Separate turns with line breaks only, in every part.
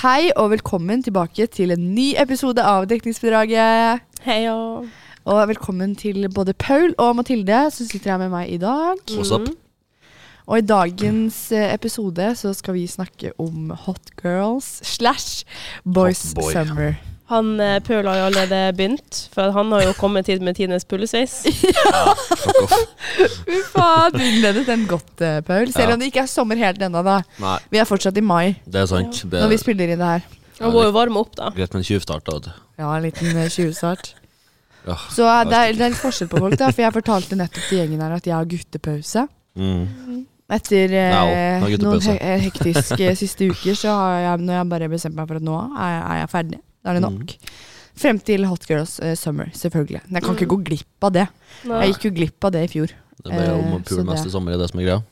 Hei og velkommen tilbake til en ny episode av Dekningsbidraget.
Hei og
Og velkommen til både Paul og Mathilde som sitter her med meg i dag.
What's up?
Mhm. Og i dagens eh, episode så skal vi snakke om hot girls slash boys
Hot boy.
summer.
Han eh, Paul har jo allerede begynt, for han har jo kommet hit med tidenes pullesveis.
Fuck off.
Fy faen, du innledet den godt, eh, Paul. Selv
Ja.
om det ikke er sommer helt ennå, da.
Nei,
Vi er fortsatt i mai
det er sant. Det
når vi
er
spiller inn det her.
Han må jo varme opp, da.
greit med en tjuvstart, da. vet du.
Ja, en liten eh, 20-start.
Ja.
Så eh, det er, det er litt forskjell på folk, da. For jeg fortalte nettopp til gjengen her at jeg har guttepause.
Mm.
Etter eh,
Nei, nå er
noen
guttepause.
he eh, hektiske siste uker, så har jeg, når jeg bare bestemt meg for at nå er jeg, er jeg ferdig. Da er det nok.
Mm.
Frem til Hot Girls eh, Summer, selvfølgelig. Men jeg kan ikke gå glipp av det.
Nei.
Jeg gikk jo glipp av det i fjor.
Det er bare om å
Eh,
pule
så
mest
det-
i sommer, det er det som er greia.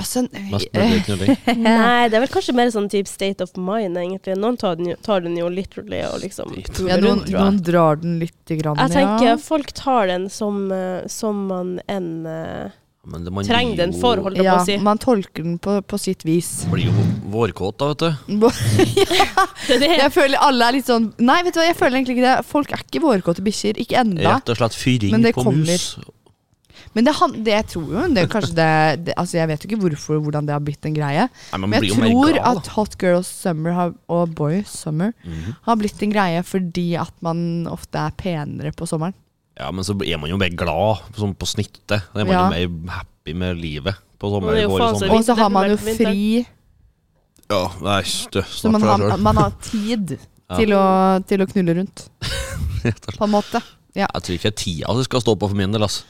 Altså,
Mest
eh,
mulig knulling.
Nei, det er vel kanskje mer sånn type state of mind, egentlig. Noen tar den jo, tar den jo literally og liksom
State.
puler
ja, noen,
rundt, tror jeg.
noen drar den lite grann,
Jeg
ja.
tenker folk tar den som, eh, som man enn eh,
Men det- man
trenger
blir
den
jo-
for, holdt jeg
Ja,
på å si.
man tolker den på, på sitt vis.
Blir jo vårkåt, da, vet du.
Det er det.
Jeg føler alle er litt sånn Nei, vet du hva, jeg føler egentlig ikke det. Folk er ikke vårkåte bikkjer. Ikke enda.
Rett og slett fyring
Men det
på
kommer.
mus.
Men det, han, det jeg tror jo det, er kanskje det, det, altså Jeg vet jo ikke hvorfor hvordan det har blitt en greie.
Nei, man
Men
blir
jeg
jo mer
tror
glad, da.
at Hot Girls Summer har, og Boy Summer
Mhm.
har blitt en greie fordi at man ofte er penere på sommeren.
Ja, men så er man jo mer glad, sånn på snittet. Da er man
Ja.
jo mer happy med livet på sommer.
Men det er jo
vår og
faen så
sommer.
Og så har man jo
vinter, vinter.
fri,
Ja, nei, du, snakk
så man
for deg
har,
selv.
man har tid
Ja.
til, å, til å knulle rundt. På en måte.
Jeg tror ikke tida det skal stå på for min del. ass.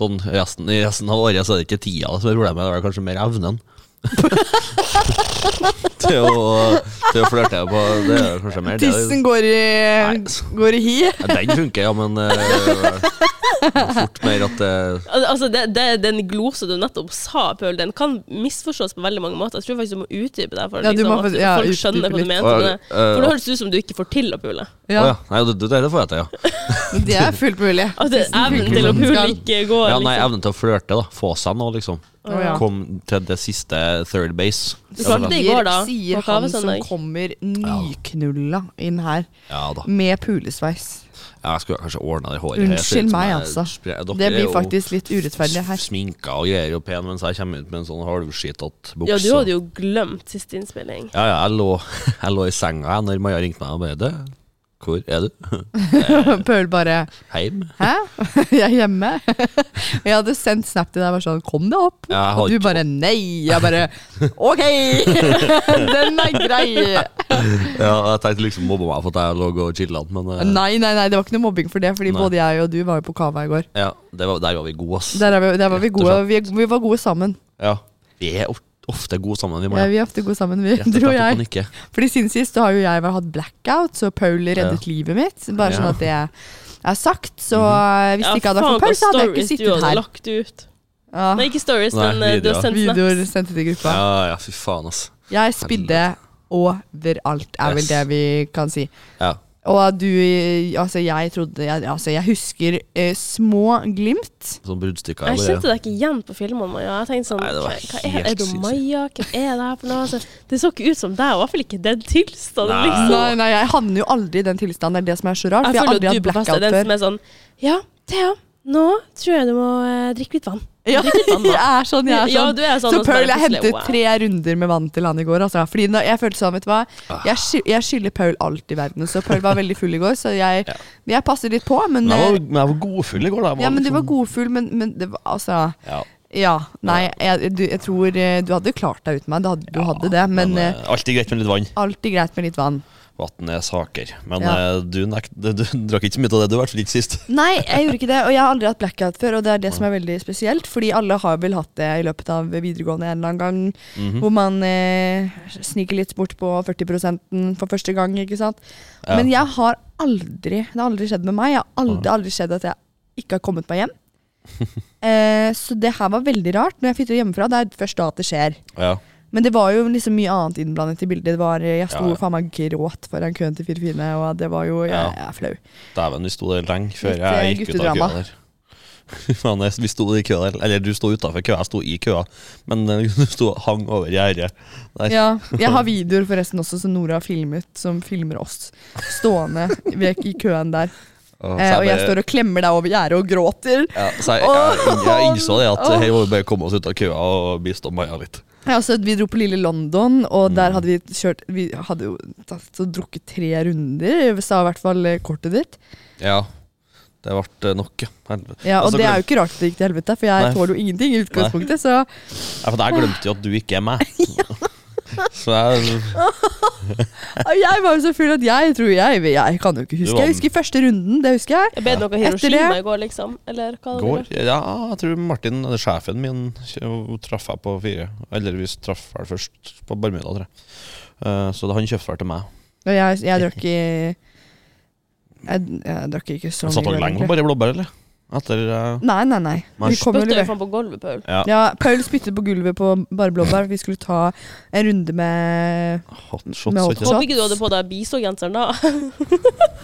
Sånn resten, I resten av året så er det ikke tida som er problemet, det er kanskje mer evnen. til å, til å flørte på Det er kanskje mer det.
Tissen går i,
Nei. altså.
går i hi.
Ja, Den funker, ja, men eh, fort mer at eh, det
Al- Altså, det, det, den glosa du nettopp sa, Pøl, den kan misforstås på veldig mange måter. Jeg tror faktisk du må utdype det for
Ja, du
liksom,
må
at
faktisk- ja,
folk
utdype
skjønner hva
litt.
du mener.
Å,
med det.
eh,
For det høres ut som du ikke får til å pule.
Å
Ja,
ja. Nei, det, det, det får jeg til, ja.
det er fullt mulig.
At det- evnen til å pule ikke går.
ja nei,
liksom.
evnen til å flørte, da. Få seg noe, liksom.
Å, ja.
Kom til det siste third base.
Du klarte det i går, da.
Sier
På
han som
kavesøndag.
kommer nyknulla inn her
Ja da.
med pulesveis.
Ja, Jeg skulle kanskje ordna det håret. her. Jeg ser
Unnskyld
ut som
meg,
jeg-
altså.
Spre- dere
Det
er
blir
jo-
faktisk litt urettferdig her.
sminka og greier og pen, mens jeg kommer ut med en sånn halvskitete bukse.
Ja, du hadde jo glemt siste innspilling.
Ja, ja, jeg lå, jeg lå i senga jeg, når Maja ringte meg og bare «Du, Hvor er du?
Paul bare
Heim?
Hæ? Jeg er hjemme. Og jeg hadde sendt snap til deg og var sånn Kom deg opp.
Ja, jeg har
Og du
ikke-
bare nei. Jeg bare OK! Den er grei.
Ja, jeg tenkte liksom mobba meg for at jeg lå og chilla, men eh,
Nei, nei, nei, det var ikke noe mobbing for det, fordi
Nei.
både jeg og du var jo på kava i går.
ja, det var, der var vi gode, ass.
Der, er vi, der var vi
Rett og
gode. Vi, vi var gode sammen.
Ja. Vi er of- ofte gode sammen, vi,
Ja,
Maja.
vi er ofte gode sammen, vi.
Rett og
Du og
slett at
jeg.
man ikke-
Fordi siden sist så har jo jeg hatt blackout, så Paul reddet livet mitt. Bare sånn
Ja. Mhm.
at det er sagt. Så hvis det ikke hadde vært for Paul,
hva
så hadde jeg ikke
stories du
sittet
hadde
her.
lagt ut.
Ja.
Nei, ikke stories,
Nei,
men eh, du har
videoer.
sendt
Videoer
snaps.
sendt til gruppa.
Ja, ja, fy faen, ass.
Jeg spydde overalt, er vel
Yes.
det vi kan si.
Ja.
Og du Altså, jeg trodde jeg, altså, jeg husker eh, små glimt.
Sånn bruddstykker.
Jeg
eller-
kjente deg ikke igjen på filmene. Maja. Jeg tenkte sånn,
Nei, det var
hva hva er,
helt
er du
sinnssykt.
Maja? Hva er det her for noe? Altså, det så ikke ut som deg, og i hvert fall ikke i den tilstanden.
Nei.
Liksom.
Nei, nei, jeg havner jo aldri i den tilstanden. Det er det som er så rart.
Jeg
For jeg har
føler
aldri
at
hatt
du på fest er
blackout
den
før.
som er sånn Ja, Thea, nå tror jeg du må eh, drikke litt vann.
Ja,
Drikk litt vann,
jeg
da.
er sånn, jeg er
Ja,
sånn.
du er sånn
Så
og så bare
Paul, jeg
plutselig,
hentet
wow.
tre runder med vann til han i går. Altså, fordi da, jeg følte sånn, vet du hva.
Ah.
Jeg, sky- jeg skylder Paul alt i verden. Så Paul var veldig full i går, så jeg, jeg passer litt på. Men,
Men jeg
eh,
var, men jeg var godfull i går, da. Jeg
ja, men du var
sånn.
liksom-
godfull, men, men det var altså
Ja.
Ja. Nei, jeg, du, jeg tror eh, du hadde klart deg uten meg. Du hadde, du hadde det. Men,
men
eh,
eh, Alltid greit med litt vann.
alltid greit med litt vann.
Vann er saker. Men
Ja.
eh, du, nek du, du drakk ikke så mye av det, du, i hvert fall ikke sist.
Nei, jeg gjorde ikke det. Og jeg har aldri hatt blackout før, og det er det som er veldig spesielt. Fordi alle har vel hatt det i løpet av videregående en eller annen gang. Hvor man eh, sniker litt bort på 40 for første gang, ikke sant.
Ja.
Men jeg har aldri Det har aldri skjedd med meg. Jeg har aldri, aldri skjedd at jeg ikke har kommet meg hjem. eh, så det her var veldig rart. Når jeg flytter hjemmefra, det er først da at det skjer.
Ja.
Men det var jo liksom mye annet innblandet i bildet. Det var, eh, jeg sto
Ja, ja.
faen meg gråt foran køen til Fire fine, og det var jo Jeg,
Ja.
jeg er flau.
Dæven, vi sto der lenge før
Litt, eh,
jeg gikk ut av
guttedrama.
køa der. Faen, jeg- vi sto i køa, der. eller du sto utafor køa, jeg sto i køa. Men eh, du sto hang over gjerdet. Der.
Ja, jeg har videoer forresten også som Nora har filmet, som filmer oss stående vek i køen der.
Og,
Eh, og jeg står og klemmer deg over gjerdet og gråter.
ja, så jeg, jeg, jeg innså det at her må vi bare komme oss ut av køa og bistå Maja litt.
Ja, altså, vi dro på lille London, og
Mm.
der hadde vi kjørt Vi hadde jo tatt og drukket tre runder, sa i hvert fall eh, kortet ditt.
Ja, det ble eh, nok, ja. Helvete.
Ja, Og
Altså,
det er
glem-
jo ikke rart det gikk til helvete, for jeg
Nei.
tåler jo ingenting i utgangspunktet, så
Ja, for jeg glemte jo at du ikke er meg. Så jeg,
Og Jeg var jo så full at jeg tror jeg Jeg kan jo ikke
Du
huske.
var-
Jeg husker første runden, det husker jeg.
Jeg ble noe
Etter det-
Hiroshima i går, liksom. Eller hva det
går,
var.
ja, jeg tror Martin, eller sjefen min, kjø- traff jeg på fire. Eller vi traff vel først på Barmuda, tror jeg. Eh, Så han kjøpte vel til meg.
Og jeg, jeg drakk i jeg, jeg drakk ikke så mye.
Satt dere
øl,
lenge
egentlig.
på bare blåbær, eller? Etter eh,
Nei, nei, nei.
Man
Vi kom jo
Bøtta jo
levert.
faen på gulvet, Paul.
ja.
Ja, Paul spyttet på gulvet på bare blåbær. Vi skulle ta en runde med
Hot
Med
shots, ikke
hot
sant?
Håper ikke du hadde på deg bisogenseren da.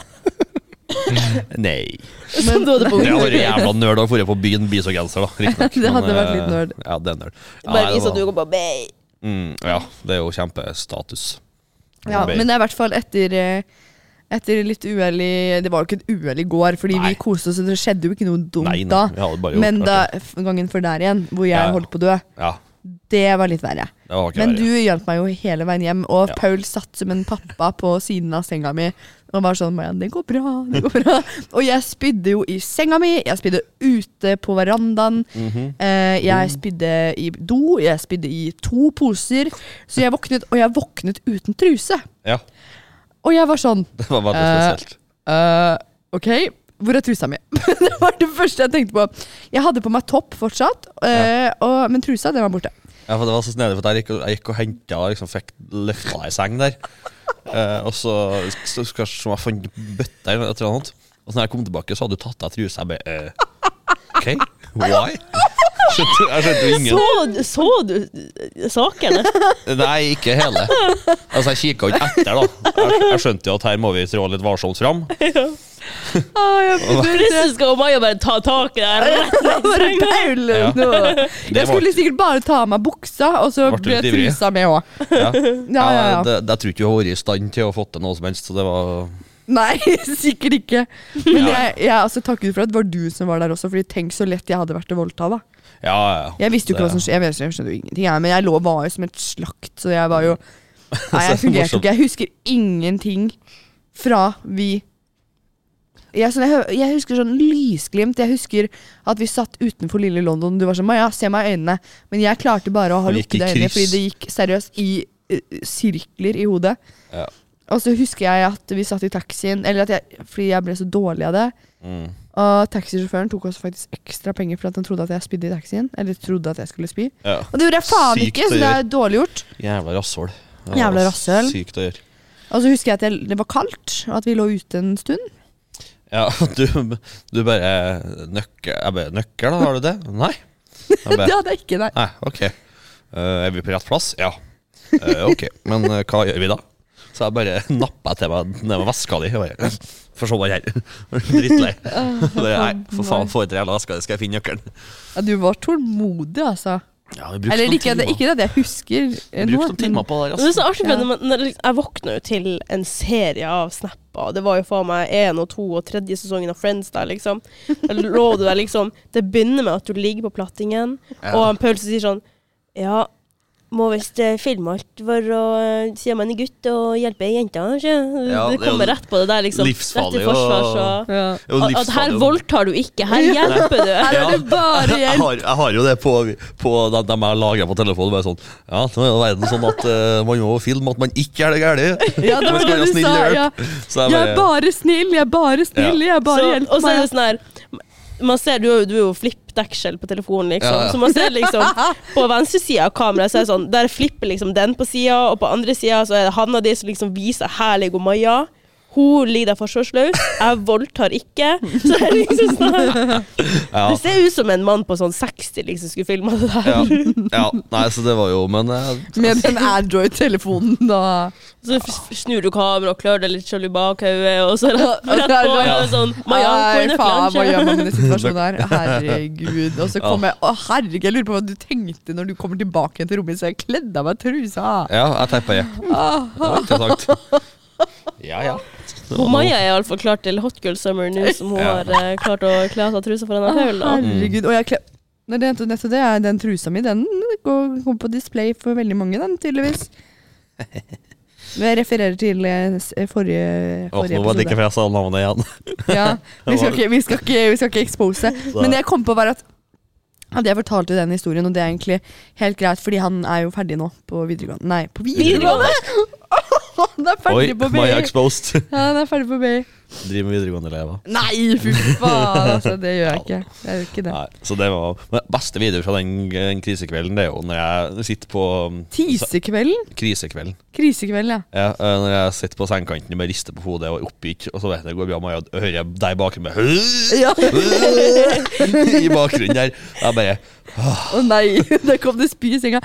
Nei.
Som du hadde på
Det hadde vært
ungdomsskolen.
jævla nerd å dra på byen bisogenser, da. Riktignok.
Det hadde
men,
vært
eh,
litt nerd.
Ja, det er nerd. Ja,
Bare
nei,
vis
det
at du
var-
går bare «Bey».
Mm, Ja, det er jo kjempestatus.
Ja,
Ah, Babe.
men det er i hvert fall etter eh, etter litt uhell i Det var jo ikke et uhell i går, fordi
Nei.
vi koste oss, og det skjedde jo ikke noe dumt
Nei, nei, vi
da.
hadde bare gjort
Men
det.
da f- gangen før der igjen, hvor jeg
Ja, ja.
holdt på å dø,
Ja,
det var litt verre.
det var ikke
Men
verre.
du hjalp meg jo hele veien hjem, og
Ja.
Paul satt som en pappa på siden av senga mi og var sånn Marianne, det går bra, det går bra. og jeg spydde jo i senga mi, jeg spydde ute på verandaen, eh, jeg spydde i do, jeg spydde i to poser. Så jeg våknet, og jeg våknet uten truse.
Ja,
Og jeg var sånn
det var veldig
Eh,
spesielt.
«Eh, Ok, hvor er trusa mi? det var det første jeg tenkte på. Jeg hadde på meg topp fortsatt, eh, og, men trusa den var borte.
Ja, for det var så snedig, for at jeg gikk, og- jeg gikk og hentet og liksom fikk løfta ei seng der. Eh, og så så skal jeg se om jeg fant bøtta eller et eller annet. Og så når jeg kom tilbake, så hadde du tatt av trusa. Jeg bare eh, OK, why? Skjønte, jeg skjønte jo ingen
Så, så du sakene?
Nei, ikke hele. Altså, jeg kikka ikke etter, da. Jeg, jeg skjønte jo at her må vi trå litt varsomt fram.
Ah, jeg
Plutselig skal Maja bare ta tak i det her.
Bare Paul
Ja.
nå.
Det
Jeg skulle
var-
sikkert bare ta av meg buksa, og så
Ble du
ble
litt ivrig?
trusa med òg.
Ja.
Ja, ja, ja.
Eh, Det, det, jeg tror ikke hun har vært i stand til å få til noe som helst, så det var
Nei, sikkert ikke. Men
Ja.
jeg, jeg altså, takker for at det var du som var der også, Fordi tenk så lett jeg hadde vært å voldta. da
Ja, ja. ja.
Jeg visste jo ikke
Det-
hva som skjedde, jeg, vet- jeg skjønner jo ingenting, jeg, men jeg lå var jo som et slakt, så jeg var jo Nei, jeg
Mm. Så
fungerte
morsomt.
ikke. Jeg husker ingenting fra vi jeg, sånn, jeg, hø- jeg husker sånn lysglimt. Jeg husker at vi satt utenfor lille London. Du var sånn Maja, se meg i øynene. Men jeg klarte bare å ha
Det gikk i
lukkede øyne,
kryss.
fordi det gikk seriøst i eh, sirkler i hodet.
Ja.
Og så husker jeg at vi satt i taxien, eller at jeg, fordi jeg ble så dårlig av det.
Mm.
Og taxisjåføren tok også faktisk ekstra penger for at han trodde at jeg spydde i taxien. Eller trodde at jeg skulle spy.
ja.
Og det gjorde jeg faen
Sykt
ikke,
å
så det er
gjøre.
dårlig gjort.
Jævla rasshøl. Det var
Jævla rasshøl.
Sykt å gjøre.
Og så husker jeg at jeg, det var kaldt, og at vi lå ute en stund.
Ja, du, du bare nøkker Jeg bare Nøkker, da? Har du det? Nei. Jeg
Det
bare,
hadde jeg ikke, nei.
nei, ok. Eh, er vi på rett plass? Ja. Eh, ok, men eh, hva gjør vi da? Så jeg bare nappa til meg ned med veska di. og bare, «Hm, Få se den her. Drittlei. Bare, Nei, for faen, for et jævla veske. Skal jeg finne nøkkelen?
Ja, du var tålmodig, altså.
Ja, vi brukte
Eller
noen
ikke, det,
timer.
ikke at jeg husker eh,
Vi
nå.
brukte noen timer på det altså.
Det
der,
er så artig,
Ja.
men når- når liksom- jeg våkna jo til en serie av snapper. Det var jo faen meg én og to og tredje sesongen av Friends der, liksom. Da lå du der, liksom. Det begynner med at du ligger på plattingen, og han Paul som sier sånn Ja, må visst eh, filme alt for å eh, si om han er gutt og hjelpe ei jente, kanskje.
Ja,
det
det er jo
kommer rett på det der, liksom. Rett
livsfarlig
til forsvar,
å-
så
Ja.
Jo,
at, at her
livsfarlig.
voldtar du ikke, her hjelper du.
Her er det bare
Jeg
hjelp.
har, jeg har jo det på, på de, de jeg lager på telefonen. Bare sånn Ja, nå er jo verden sånn at eh, man må filme at man ikke er det gærne.
Ja, det
Man
var
skal
det
være
du
snill
sa.
og hjelp.
Ja.
Så jeg
Jeg er
bare
bare snill, jeg er bare snill, jeg er bare
Så-
hjelp.
Og så er
meg.
det sånn her man ser, du, er jo- du er jo flippdeksel på telefonen, liksom.
Ja, ja.
Så man ser liksom på venstre sida av kameraet, så er det sånn, der flipper liksom den på sida, og på andre sida så er det handa di som liksom viser 'her ligger Maja'. Hun ligger der forsvarsløs. Jeg voldtar ikke. Så det er liksom sånn
Ja.
Det ser ut som en mann på sånn 60 liksom skulle filma det der.
Ja. ja. Nei, så det var jo Men eh,
Med den Android-telefonen, da.
Så f- snur du kameraet og klør deg litt sjalu bak hodet, og så rett på
Ja.
og sånn Maja, hvor er
Nei, faen, hva gjør
nøkkelen?
man i den situasjonen her? Herregud. Og så kom jeg Å, herregud, jeg lurer på hva du tenkte når du kommer tilbake igjen til rommet, så jeg kledde av meg trusa.
ja, jeg teipa jepp. Det var interessant. Ja, ja. Det var
Og
noe.
Maja er iallfall klar til Hot Girl Summer nå som hun har
Ja.
eh, klart å kle av seg trusa foran
Å,
en høl. da.
herregud. Og jeg kle... Nei, det, er nettopp det er den trusa mi, den går- kom på display for veldig mange, den, tydeligvis. Men Jeg refererer til eh, s- forrige,
Å,
forrige
nå var det
episode.
ikke for jeg sa navnet igjen.
Ja, vi, skal ikke, vi, skal ikke, vi skal ikke expose. Men det jeg kom på, var at hadde jeg fortalt jo den historien, og det er egentlig helt greit, fordi han er jo ferdig nå på videregående. Nei, på videregående! han er
Oi,
ferdig på BI!
Maja exposed.
Ja, han er ferdig på BI.
Driver med videregående elever.
Nei, fy faen! Altså, det gjør jeg ikke. Jeg gjør ikke det.
Nei, så det var Men beste video fra den, den krisekvelden, det er jo når jeg sitter på mm,
Tisekvelden?
Krisekvelden.
Krisekvelden, ja.
Ja, eh, når jeg sitter på sengekanten og bare rister på hodet og er oppgitt, og så vet jeg det går bra med Maja, og hører jeg deg bak meg
Ja.
I bakgrunnen der. Jeg bare
Å nei, der kom det spy i senga.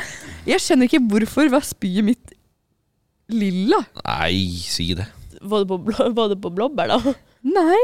Jeg skjønner ikke hvorfor var spyet mitt lilla?
Nei, si det.
Var det på, blå- var det på blåbær, da?
Nei.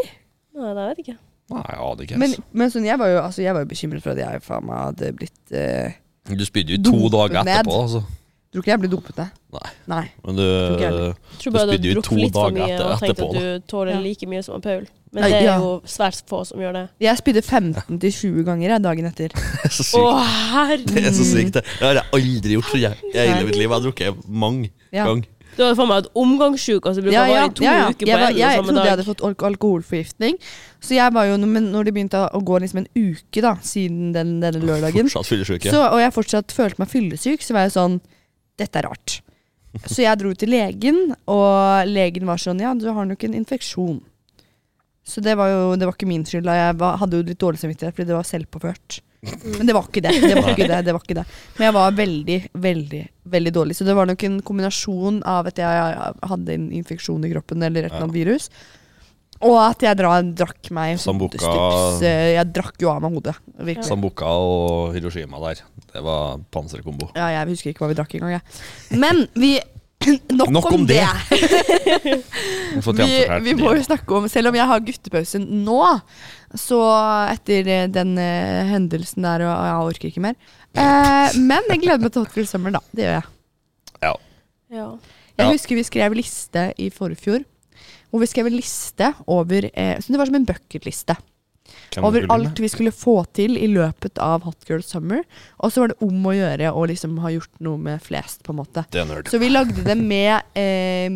Nei, det vet jeg ikke.
Nei, jeg aner ikke.
Men,
ass.
men sånn, jeg var jo, altså, jeg var jo bekymret for at jeg faen meg hadde blitt eh,
Du spydde jo to
Dumpe
dager
ned.
etterpå, altså.
Tror ikke jeg ble dopet, jeg.
Nei.
Nei.
Men du
Tror ikke jeg.
Jeg tror
Du
bare du
spydde
har
jo to
drukket litt for
dager
mye
etter-
og tenkt
etterpå,
at du tåler
Ja.
like mye som Paul.
Nei,
Men det er
ja.
jo svært få som gjør det.
Jeg spydde 15-20 ganger jeg, dagen etter.
Det er så
Å,
sykt. Det
herre!
er så sykt, det. Det har jeg aldri gjort, tror jeg. I hele mitt liv. Jeg har drukket mange
Ja.
ganger.
Du hadde faen meg hatt omgangssjuke, altså. Du bruker å være i to uker på
Jeg, var,
en og
jeg
samme
trodde jeg
dag.
hadde fått alk alkoholforgiftning. Så jeg var jo, men når det begynte å gå liksom en uke da, siden den, denne lørdagen,
Fortsatt fyllesyke.
Så, og jeg fortsatt følte meg fyllesyk, så var jeg sånn Dette er rart. Så jeg dro til legen, og legen var sånn Ja, du har nok en infeksjon. Så det var jo det var ikke min skyld. da. Jeg var, hadde jo litt dårlig samvittighet fordi det var selvpåført. Men det var ikke det. det, var ikke det, det, var ikke det. Men jeg var veldig, veldig veldig dårlig. Så det var nok en kombinasjon av at jeg hadde en infeksjon i kroppen eller et eller annet virus, og at jeg dra, drakk meg
Sambuca.
stups. eh, Jeg drakk jo av meg hodet. Virkelig.
Sambuca og Hiroshima der. Det var panserkombo.
Ja, jeg husker ikke hva vi drakk engang. Jeg. Men vi Nok,
Nok
om
om
det!
Vi,
Vi, vi må jo snakke om Selv om jeg har guttepausen nå, så etter eh, den eh, hendelsen der og jeg orker ikke mer. Eh, men jeg gleder meg til Hot Girl Summer, da. Det gjør jeg.
ja.
Ja.
Jeg
Ja.
husker vi skrev liste i forfjor. Hvor vi skrev en liste over eh, Så det var som en bucketliste.
Hvem
over
skulle med?
alt vi skulle få til i løpet av Hot Girl Summer. Og så var det om å gjøre å liksom ha gjort noe med flest, på en måte.
Det er nerd.
Så vi lagde det med eh,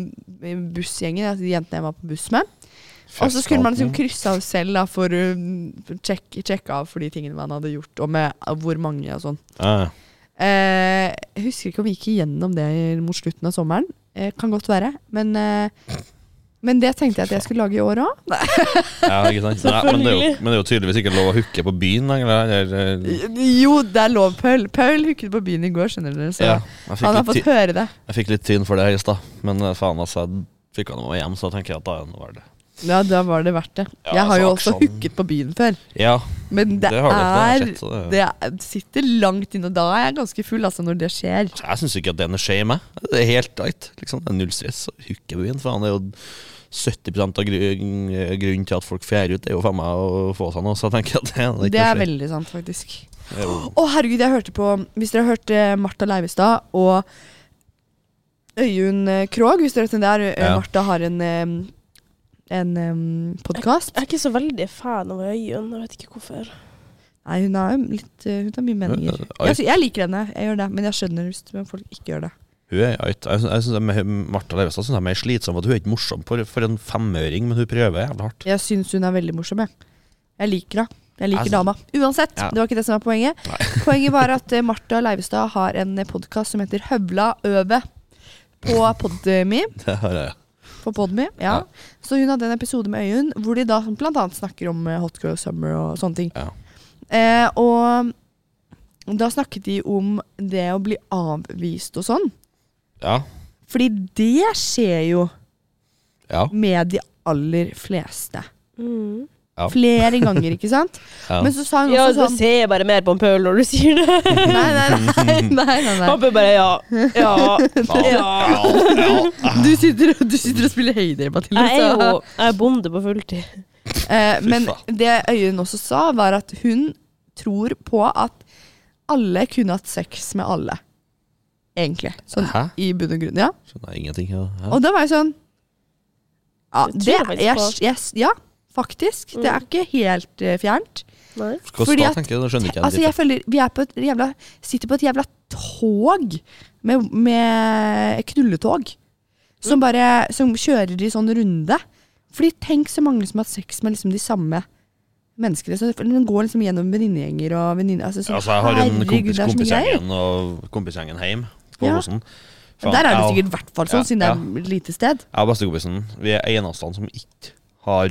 bussgjengen, altså de jentene jeg var på buss med. Og så skulle man liksom krysse av selv da, for å sjekke av for de tingene man hadde gjort, og med av hvor mange og sånn.
Ja.
Eh, jeg husker ikke om vi gikk igjennom det mot slutten av sommeren. Eh, kan godt være. Men, eh, men det tenkte jeg at jeg skulle lage i år òg.
Ja, ikke sant? Nei, men, det er jo,
Selvfølgelig.
men det er jo tydeligvis ikke lov å hooke på byen lenger. eller- eller-
Jo, det er lov, Paul. Paul hooket på byen i går, skjønner dere. Så
Ja, jeg,
han har
fikk litt,
fått
ty-
høre det.
jeg fikk litt tynn for det her i stad, men eh, faen, altså. Jeg fikk han med hjem, så jeg tenker at da er det noe verdt det.
Ja, da var det verdt det.
Ja,
jeg har jo også
altså, aksjon-
hooket på byen før.
Ja,
Men det,
det
er
har du. Det har jeg sett, så det,
Det er- sitter langt inne, og da er jeg ganske full altså, når det skjer.
Så jeg syns ikke at det er noe skje i meg. Det er helt tight. Liksom. Det er null stress. Hooke på byen, faen. Det er jo 70 av grunn, grunnen til at folk fjærer ut, det er jo faen meg å få seg noe. Så jeg tenker at det, er ikke
Det er
noe skje.
veldig sant, faktisk.
Det er jo-
Å, herregud, jeg hørte på Hvis dere har hørt eh, Martha Leivestad og Øyunn eh, Krogh Hvis dere vet hvem det er, eh,
Ja.
Martha har en, eh, en eh, podkast.
Jeg er ikke så veldig fan av Øyunn, jeg vet ikke hvorfor.
Nei, hun har litt eh, Hun har mye meninger.
Oi.
Jeg, sy- jeg liker henne, jeg gjør det, men jeg skjønner hvis folk ikke gjør det.
Hun er eit. Jeg synes, jeg synes det er mer- Martha Leivestad synes jeg er mer slitsom. for At hun er ikke morsom for, for en femøring, men hun prøver jævlig hardt.
Jeg syns hun er veldig morsom, jeg. Jeg liker henne. Jeg liker
Jeg syns-
dama. Uansett,
Altså, Ja.
det var ikke det som var poenget. Poenget var at eh, Martha Leivestad har en podkast som heter Høvla øve på Podme.
Det har jeg.
På Podme ja.
Ja.
Så hun hadde en episode med Øyunn hvor de da blant annet snakker om eh, Hot Girl Summer og sånne ting.
Ja.
Eh, og da snakket de om det å bli avvist og sånn.
Ja.
Fordi det skjer jo
Ja.
med de aller fleste.
Mm.
Ja.
Flere ganger, ikke sant?
Ja.
Men så sa hun
Ja,
også
du
sånn
ser bare mer på en pøl når du sier det.
Nei, nei, nei. nei, nei, nei.
Pappa bare ja. Ja. ja.
ja, ja.
Du, sitter, du sitter og spiller høyder, Mathilde.
Jeg er
så-
jo jeg er bonde på fulltid.
Eh, men
faen.
det Øyunn også sa, var at hun tror på at alle kunne hatt sex med alle. Egentlig. Sånn
Hæ?
i bunn og grunn. Ja.
Skjønner jeg ingenting. Ja. Ja.
Og da var jeg sånn Ja,
Det tror
det
jeg
er
faktisk på. Mm.
yes, Ja, faktisk. Det er ikke helt eh, fjernt.
Nei.
Hvordan
fordi
da,
at-
tenker du? Det skjønner ikke jeg.
Altså, jeg føler vi er på et jævla Sitter på et jævla tog med, med knulletog.
Mm.
Som bare Som kjører i sånn runde. Fordi tenk så mange som har hatt sex med liksom de samme menneskene. Så den går liksom gjennom venninnegjenger og venninner altså, så,
Altså, jeg har en
herregud,
kompis,
det er så mye greier.
kompisgjengen og kompisgjengen hjem på
Ja.
Åsen. Faen,
Der er det
jeg og-
sikkert i hvert fall sånn,
Ja,
siden det er et lite sted.
Jeg og bestekompisen Vi er eneste som ikke har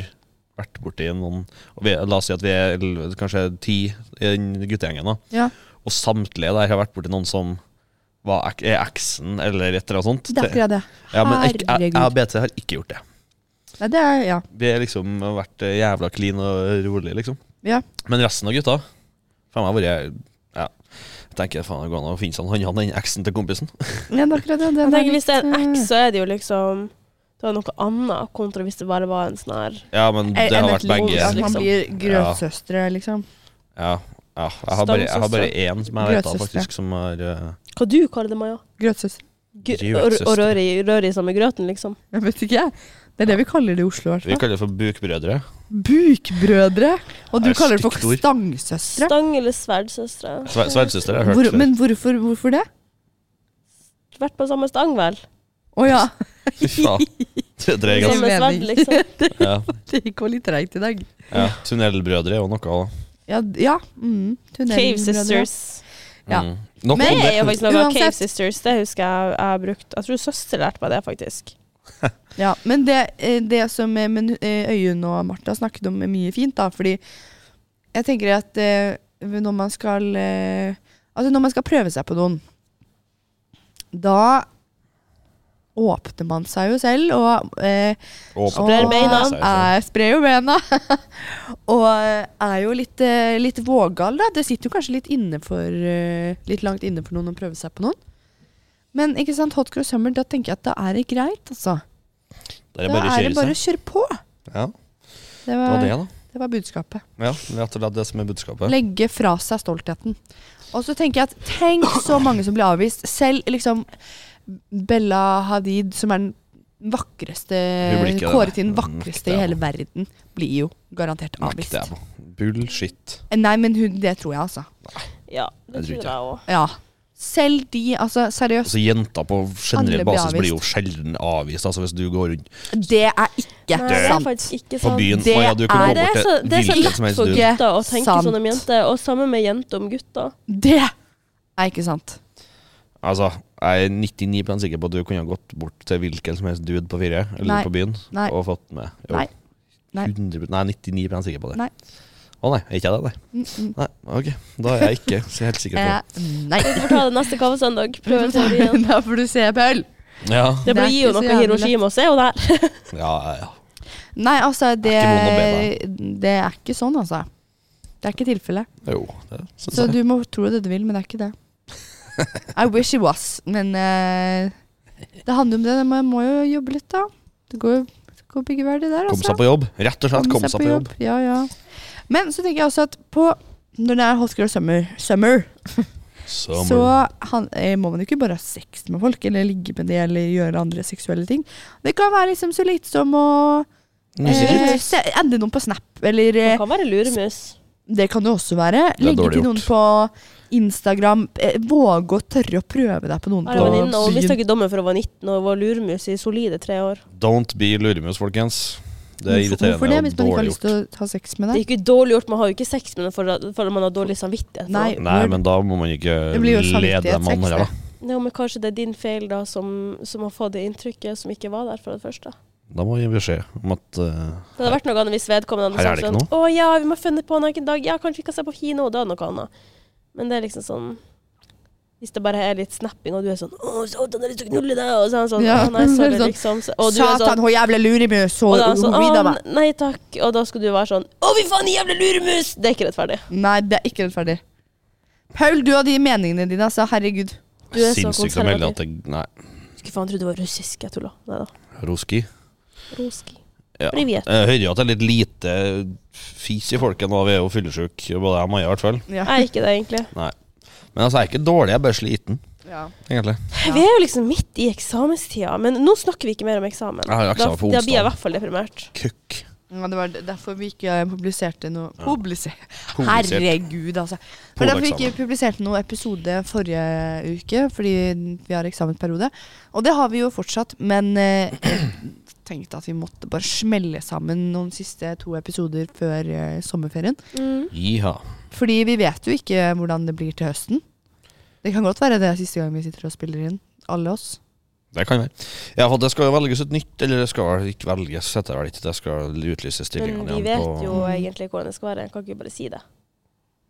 vært borti noen og vi, La oss si at vi er elleve, kanskje ti i den guttegjengen. da
Ja.
Og samtlige der har vært borti noen som var, ek- er eksen eller et eller annet sånt.
Så det er akkurat det.
ja, men jeg, jeg, jeg og
Herregud.
BT har ikke gjort det.
Nei, det er Ja.
Vi har liksom vært eh, jævla clean og rolig, liksom.
ja.
Men resten av gutta Faen, jeg har vært Ja. Jeg tenker faen, det går an å finne seg noen annen enn eksen til kompisen.
ja det er akkurat det. Den
Jeg
er
tenker Hvis det er en
litt,
eks,
eh,
så er det jo liksom Det var noe annet, kontra hvis det bare var en sånn her
Ja, men det
enn
har
et
vært
liv,
begge.
At man
liksom.
blir
Ja.
grøtsøstre, liksom.
Ja, ja. Jeg har bare, jeg har bare én som jeg vet av,
Grøtsøstre.
faktisk, som har eh,
Hva du kaller det, Maja?
Grøtsøstre.
Gr-
Grøtsøster.
Å å røre i, røre i samme grøten, liksom?
Jeg vet ikke, jeg. Det er det vi kaller det i Oslo, i hvert fall.
Vi kaller det for bukbrødre.
Bukbrødre. Og
Det
du
er
kaller det for
stygt ord.
stangsøstre.
Stang- eller sverdsøstre?
Sve- Sverdsøster har jeg hørt
Hvor,
før.
men hvorfor, hvorfor det?
Vært på samme stang, vel?
Å ja.
Fy faen. Det er dreg, altså.
Som-
Samme sverd,
mening.
liksom.
Ja.
Det gikk vel litt treigt i dag.
Ja. Tunnelbrødre er jo noe. da.
Ja. d- ja. Mm. Tunnelbrødre.
Cave Sisters.
Ja.
Mm. Nok
Men
Det
om
er jo
det.
faktisk noe av Cave
Uansett.
Sisters. Det husker jeg jeg har brukt. Jeg tror søster lærte meg det, faktisk.
Ja, men det, eh, det som eh, men, eh, Øyunn og Martha snakket om, er mye fint, da. Fordi jeg tenker at eh, når man skal eh, Altså, når man skal prøve seg på noen, da åpner man seg jo selv, og eh,
Åpen.
Sprer beina.
altså.
Åpner seg selv.
Er, sprer jo beina. og er jo litt, eh, litt vågal, da. Det sitter jo kanskje litt innenfor eh, Litt langt innenfor noen å prøve seg på noen. Men ikke sant, hot cross summer, da tenker jeg at da er det greit, altså.
Der er
Da
bare
er det bare
kjørelse.
å kjøre på.
Ja,
Det
det var
var,
det,
det
da.
var budskapet.
Ja, rett og slett det som er budskapet.
Legge fra seg stoltheten. Og så tenker jeg at tenk så mange som blir avvist. Selv liksom Bella Hadid, som er den vakreste
Hun blir ikke det, nei.
Kåret til den
Hun nekter
vakreste
jeg
i
på.
hele verden, blir jo garantert avvist.
Nekter jeg på. Bullshit.
Nei, men hun, det tror jeg, altså.
Ja, det
Jeg tror
tror jeg òg.
Ja. Selv de, altså seriøst,
Altså, jenter på generell
Alle blir
basis blir jo
avvist.
sjelden avvist. Altså, hvis du går rundt
det er ikke
Nei, det er
sant.
faktisk ikke
på
sant.
byen
Det
Å ja, du kan
er-
gå
det er så,
bort
det er
til
så
hvilken som
lett
helst
for
du
gutt.
gutter å tenke
Sant.
sånn om jenter, og sammen med jenter om gutter.
Det er ikke sant.
Altså, jeg er 99 sikker på at du kunne ha gått bort til hvilken som helst dude på fire, eller
Nei.
på byen,
Nei.
og fått med. Jo.
Nei. Nei.
100%, nei, 99 sikker på det.
Nei.
Å nei, er ikke jeg det?
Mm, mm.
Nei. nei. Ok, da er jeg ikke så helt sikker på det.
Eh, nei.
Vi får ta det neste kaffesøndag. Prøve teorien.
Da får du se, Pøl.
Ja,
Det
Det
er
blir
ikke
jo
så
noe
jævlig
Hiroshima å se, og der.
ja, ja.
Nei, altså, det,
ikke vond
det er ikke sånn, altså. Det er ikke tilfellet.
ja. Jo, det syns
Så
jeg.
du må tro det du vil, men det er ikke det. I wish it was, men eh, det handler om det. Man må jo jobbe litt, da. Det går jo det går begge veier, det der,
Kom
altså.
seg på jobb. Rett og slett kom seg på jobb.
Ja, ja. Men så tenker jeg også at på når det er hot girl summer, summer,
Summer.
så han, eh, må man jo ikke bare ha sex med folk, eller ligge med dem, eller gjøre andre seksuelle ting. Det kan være liksom så lite som å
Nyse
eh,
litt.
se- ende noen på Snap, eller
Det
eh,
kan være luremus.
det kan det også være.
er
Legge
dårlig
til noen på Instagram. Eh, våge å tørre å prøve deg på noen
Jeg har en venninne,
på
Hun mista
byen.
ikke dommen for hun var 19 og var luremus i solide tre år.
Don't be luremus, folkens. Det er
Hvorfor- Hvorfor det, hvis
irriterende og
man ikke har
dårlig
lyst
gjort.
til å ha sex med
Det er
deg?
ikke dårlig gjort, man har jo ikke sex med noen for, for man har dårlig samvittighet. for
Nei.
det.
Nei, men da må man ikke
Det blir jo
lede dem
samvittighetssex,
andre, da.
Ja, men kanskje det er din feil da som, som har fått det inntrykket som ikke var der fra det første.
Da må vi gi beskjed om at eh,
Det hadde vært noe annet hvis vedkommende
Her er
hadde sagt
det
sånn
ikke
Å ja, vi må finne på noe en dag. Ja, kanskje vi kan se på kino, og da er det noe annet. Men det er liksom sånn Hvis det bare er litt snapping, og du er sånn 'Å, satan, jeg har lyst til å knulle deg', og så er han sånn
Ja.
'Å, nei, sorry',
Sånn,
liksom. Så- Og du er
Satan,
sånn,
hun jævla lurimus!
og
Hun
da er han
hun
sånn
vidda
«Å,
meg.
nei takk. Og da skal du være sånn 'Å, fy faen, jævla luremus!' Det er ikke rettferdig.
Nei, det er ikke rettferdig. Paul, du og de meningene dine, altså. Herregud.
Du er så
Sinnssykt å melde at det Nei,
Skulle faen tro det var russisk, jeg tulla. Nei da.
Roski.
Roski.
Ja.
Privet.
Jeg hører jo at det er litt lite fis i folket nå, vi er jo fyllesyke, både jeg og Maja i hvert fall.
Ja.
Jeg er ikke det, egentlig.
Nei. Men altså, jeg er ikke dårlig, jeg er bare sliten,
Ja.
egentlig.
Ja.
Vi er jo liksom midt i eksamenstida, men nå snakker vi ikke mer om eksamen.
Jeg har jo
da,
eksamen på
da blir jeg i
onsdag.
hvert fall deprimert.
Kukk.
Ja, det var derfor vi ikke eh, publiserte noe Publiser...
Publisert.
Herregud, altså. For derfor vi
Podeksamen.
ikke publiserte noe episode forrige uke, fordi vi har eksamensperiode. Og det har vi jo fortsatt, men eh, jeg tenkte at vi måtte bare smelle sammen noen siste to episoder før eh, sommerferien.
Mm.
Jiha.
Fordi vi vet jo ikke hvordan det blir til høsten. Det kan godt være det er siste gang vi sitter og spiller inn, alle oss.
Det kan være. Ja, for det skal jo velges et nytt, eller det skal ikke velges, heter det vel ikke. Det skal utlyses
Men
stillingene
vi
igjen
vet
på
jo egentlig hvordan det skal være. Jeg kan ikke bare si det.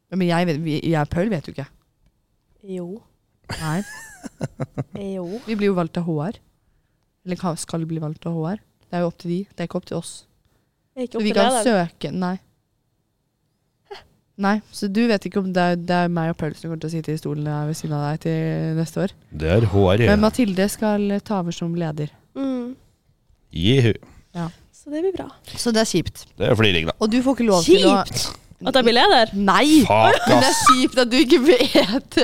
Men jeg, vet- vi- jeg og Paul vet jo ikke.
Jo.
Nei.
Jo.
Vi blir jo valgt av HR. Eller kan- skal bli valgt av HR. Det er jo opp til de, det er ikke opp til oss.
Jeg er ikke
Så
opp
vi
til
kan
det. da.
søke Nei. Nei, så du vet ikke om det er, det er meg og Paul som kommer til å sitte i stolen her ved siden av deg til neste år.
Det er E. HR,
Men Mathilde skal eh, ta over som leder.
Mm.
Jihu.
Så det blir bra.
Så det er kjipt.
Det er fliring, da.
Og du får ikke lov til å
Kjipt at jeg blir leder!
Nei!
Fuck,
Men det er
ass!
kjipt at du ikke vet at,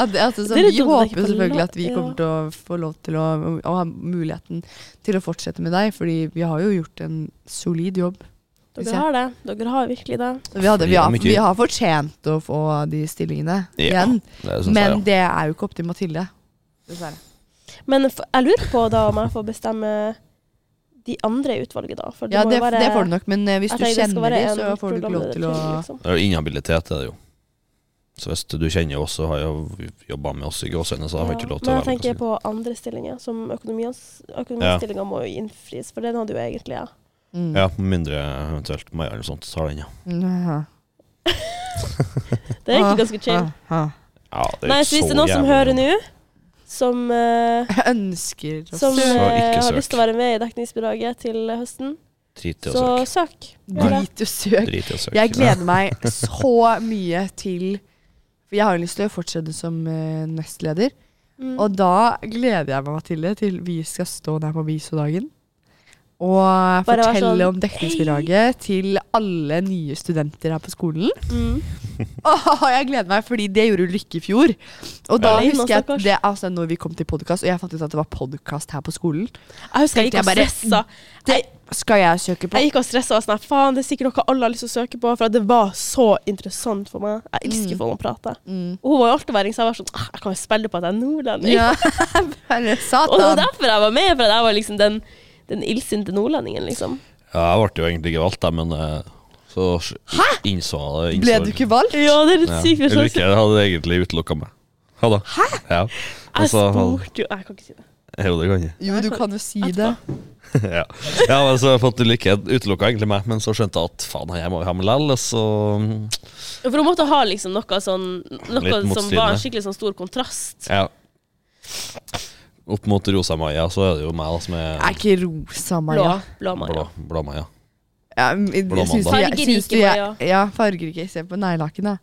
altså, så
Det er litt
Vi
dumt at jeg ikke
håper
får
selvfølgelig
lov-
at vi
ja.
kommer til å få lov til å, å ha muligheten til å fortsette med deg, fordi vi har jo gjort en solid jobb. Hvis jeg-
Dere har det. Dere har virkelig det.
Vi, hadde, vi,
Fordi
har,
om ikke-
vi har fortjent å få de stillingene
Ja,
igjen,
Det syns jeg,
men
ja.
det er jo ikke opp til Mathilde. Dessverre.
Men f- jeg lurer på da om jeg får bestemme de andre i utvalget, da. For
Ja,
må
det,
jo være-
det får du nok, men eh, hvis
jeg
du
tenker det skal
kjenner
være
de,
en
så får du ikke lov
programleder
til å
liksom.
Det er jo inhabilitet, er det jo. Så hvis du kjenner oss, så har jeg jobba med oss i gråsøyne, så jeg har
Ja.
ikke lov til
Men
å
jeg
være
tenker
med.
på andre stillinger, som økonomiens- økonomistillinga må jo innfris, for den hadde jo egentlig jeg.
mm.
Ja, med mindre eventuelt Maja eller sånt tar den, ja.
Mhm.
Det er egentlig ganske chill.
Ah, ah.
ja det er
Nei,
ikke
så hvis
så
det er noen som
jævlig.
hører nå, som, eh,
Jeg ønsker å
som
søke.
eh,
ikke
har
søk.
lyst til å være med i dekningsbidraget til høsten,
Drit i å
så
søke.
søk. Gjør
Drit
det.
i å søke.
Drit i å søke.
Jeg gleder meg så mye til For jeg har jo lyst til å fortsette som eh, nestleder.
Mm.
Og da gleder jeg meg, Mathilde, til vi skal stå der på Bisodagen. Og
Bare være
fortelle
sånn,
om dekningsbidraget til alle nye studenter her på skolen.
Mm.
Åh, jeg gleder meg, fordi det gjorde Lykke i fjor. Og da
Ja.
husker jeg at
Stakkars.
det, altså, når vi kom til podkast, og jeg fant ut at det var podkast her på skolen
Jeg husker jeg
Tenkte
gikk
jeg
og
bare-
stressa.
Det skal jeg søke på.
Jeg gikk og stressa og sånn her, faen, det er sikkert noe alle har lyst til å søke på, for at det var så interessant for meg. Jeg elsker folk å prate.
Mm.
Og hun var jo altoværing, så jeg var sånn «Ah, Jeg kan jo spille på at jeg er nordlending.
Ja, bare
Og det var
satan.
derfor jeg var med, for at jeg var liksom den, den illsinte nordlendingen, liksom.
Ja, jeg ble jo egentlig ikke valgt, da, men eh, så s- innså jeg det.
Ble du ikke valgt?
Ja, det er litt sykt.
Ja.
for
Eller
slags-
ikke, jeg hadde egentlig utelukka meg. Ha det. Hæ? Ja.
Jeg
Altså, han-
spurte jo Jeg kan ikke si det.
Jo, det kan jeg.
Jo, du kan jo si det.
ja. ja, men så har jeg fått lykke utelukka egentlig meg, men så skjønte jeg at faen, jeg må jo ha med lell, og så
For hun måtte ha liksom noe sånn Noe som
Litt
var en
motstridende.
skikkelig sånn stor kontrast.
Ja. Opp mot Rosa-Maja, så er det jo meg da, som er
Er ikke rosa
Blå.
Maja?
Blå
blå,
Maja.
blå Maja.
Ja, men jeg syns du, jeg,
Fargerike
syns du, jeg,
Maja.
ja, fargerike. Se på neglelakken, da.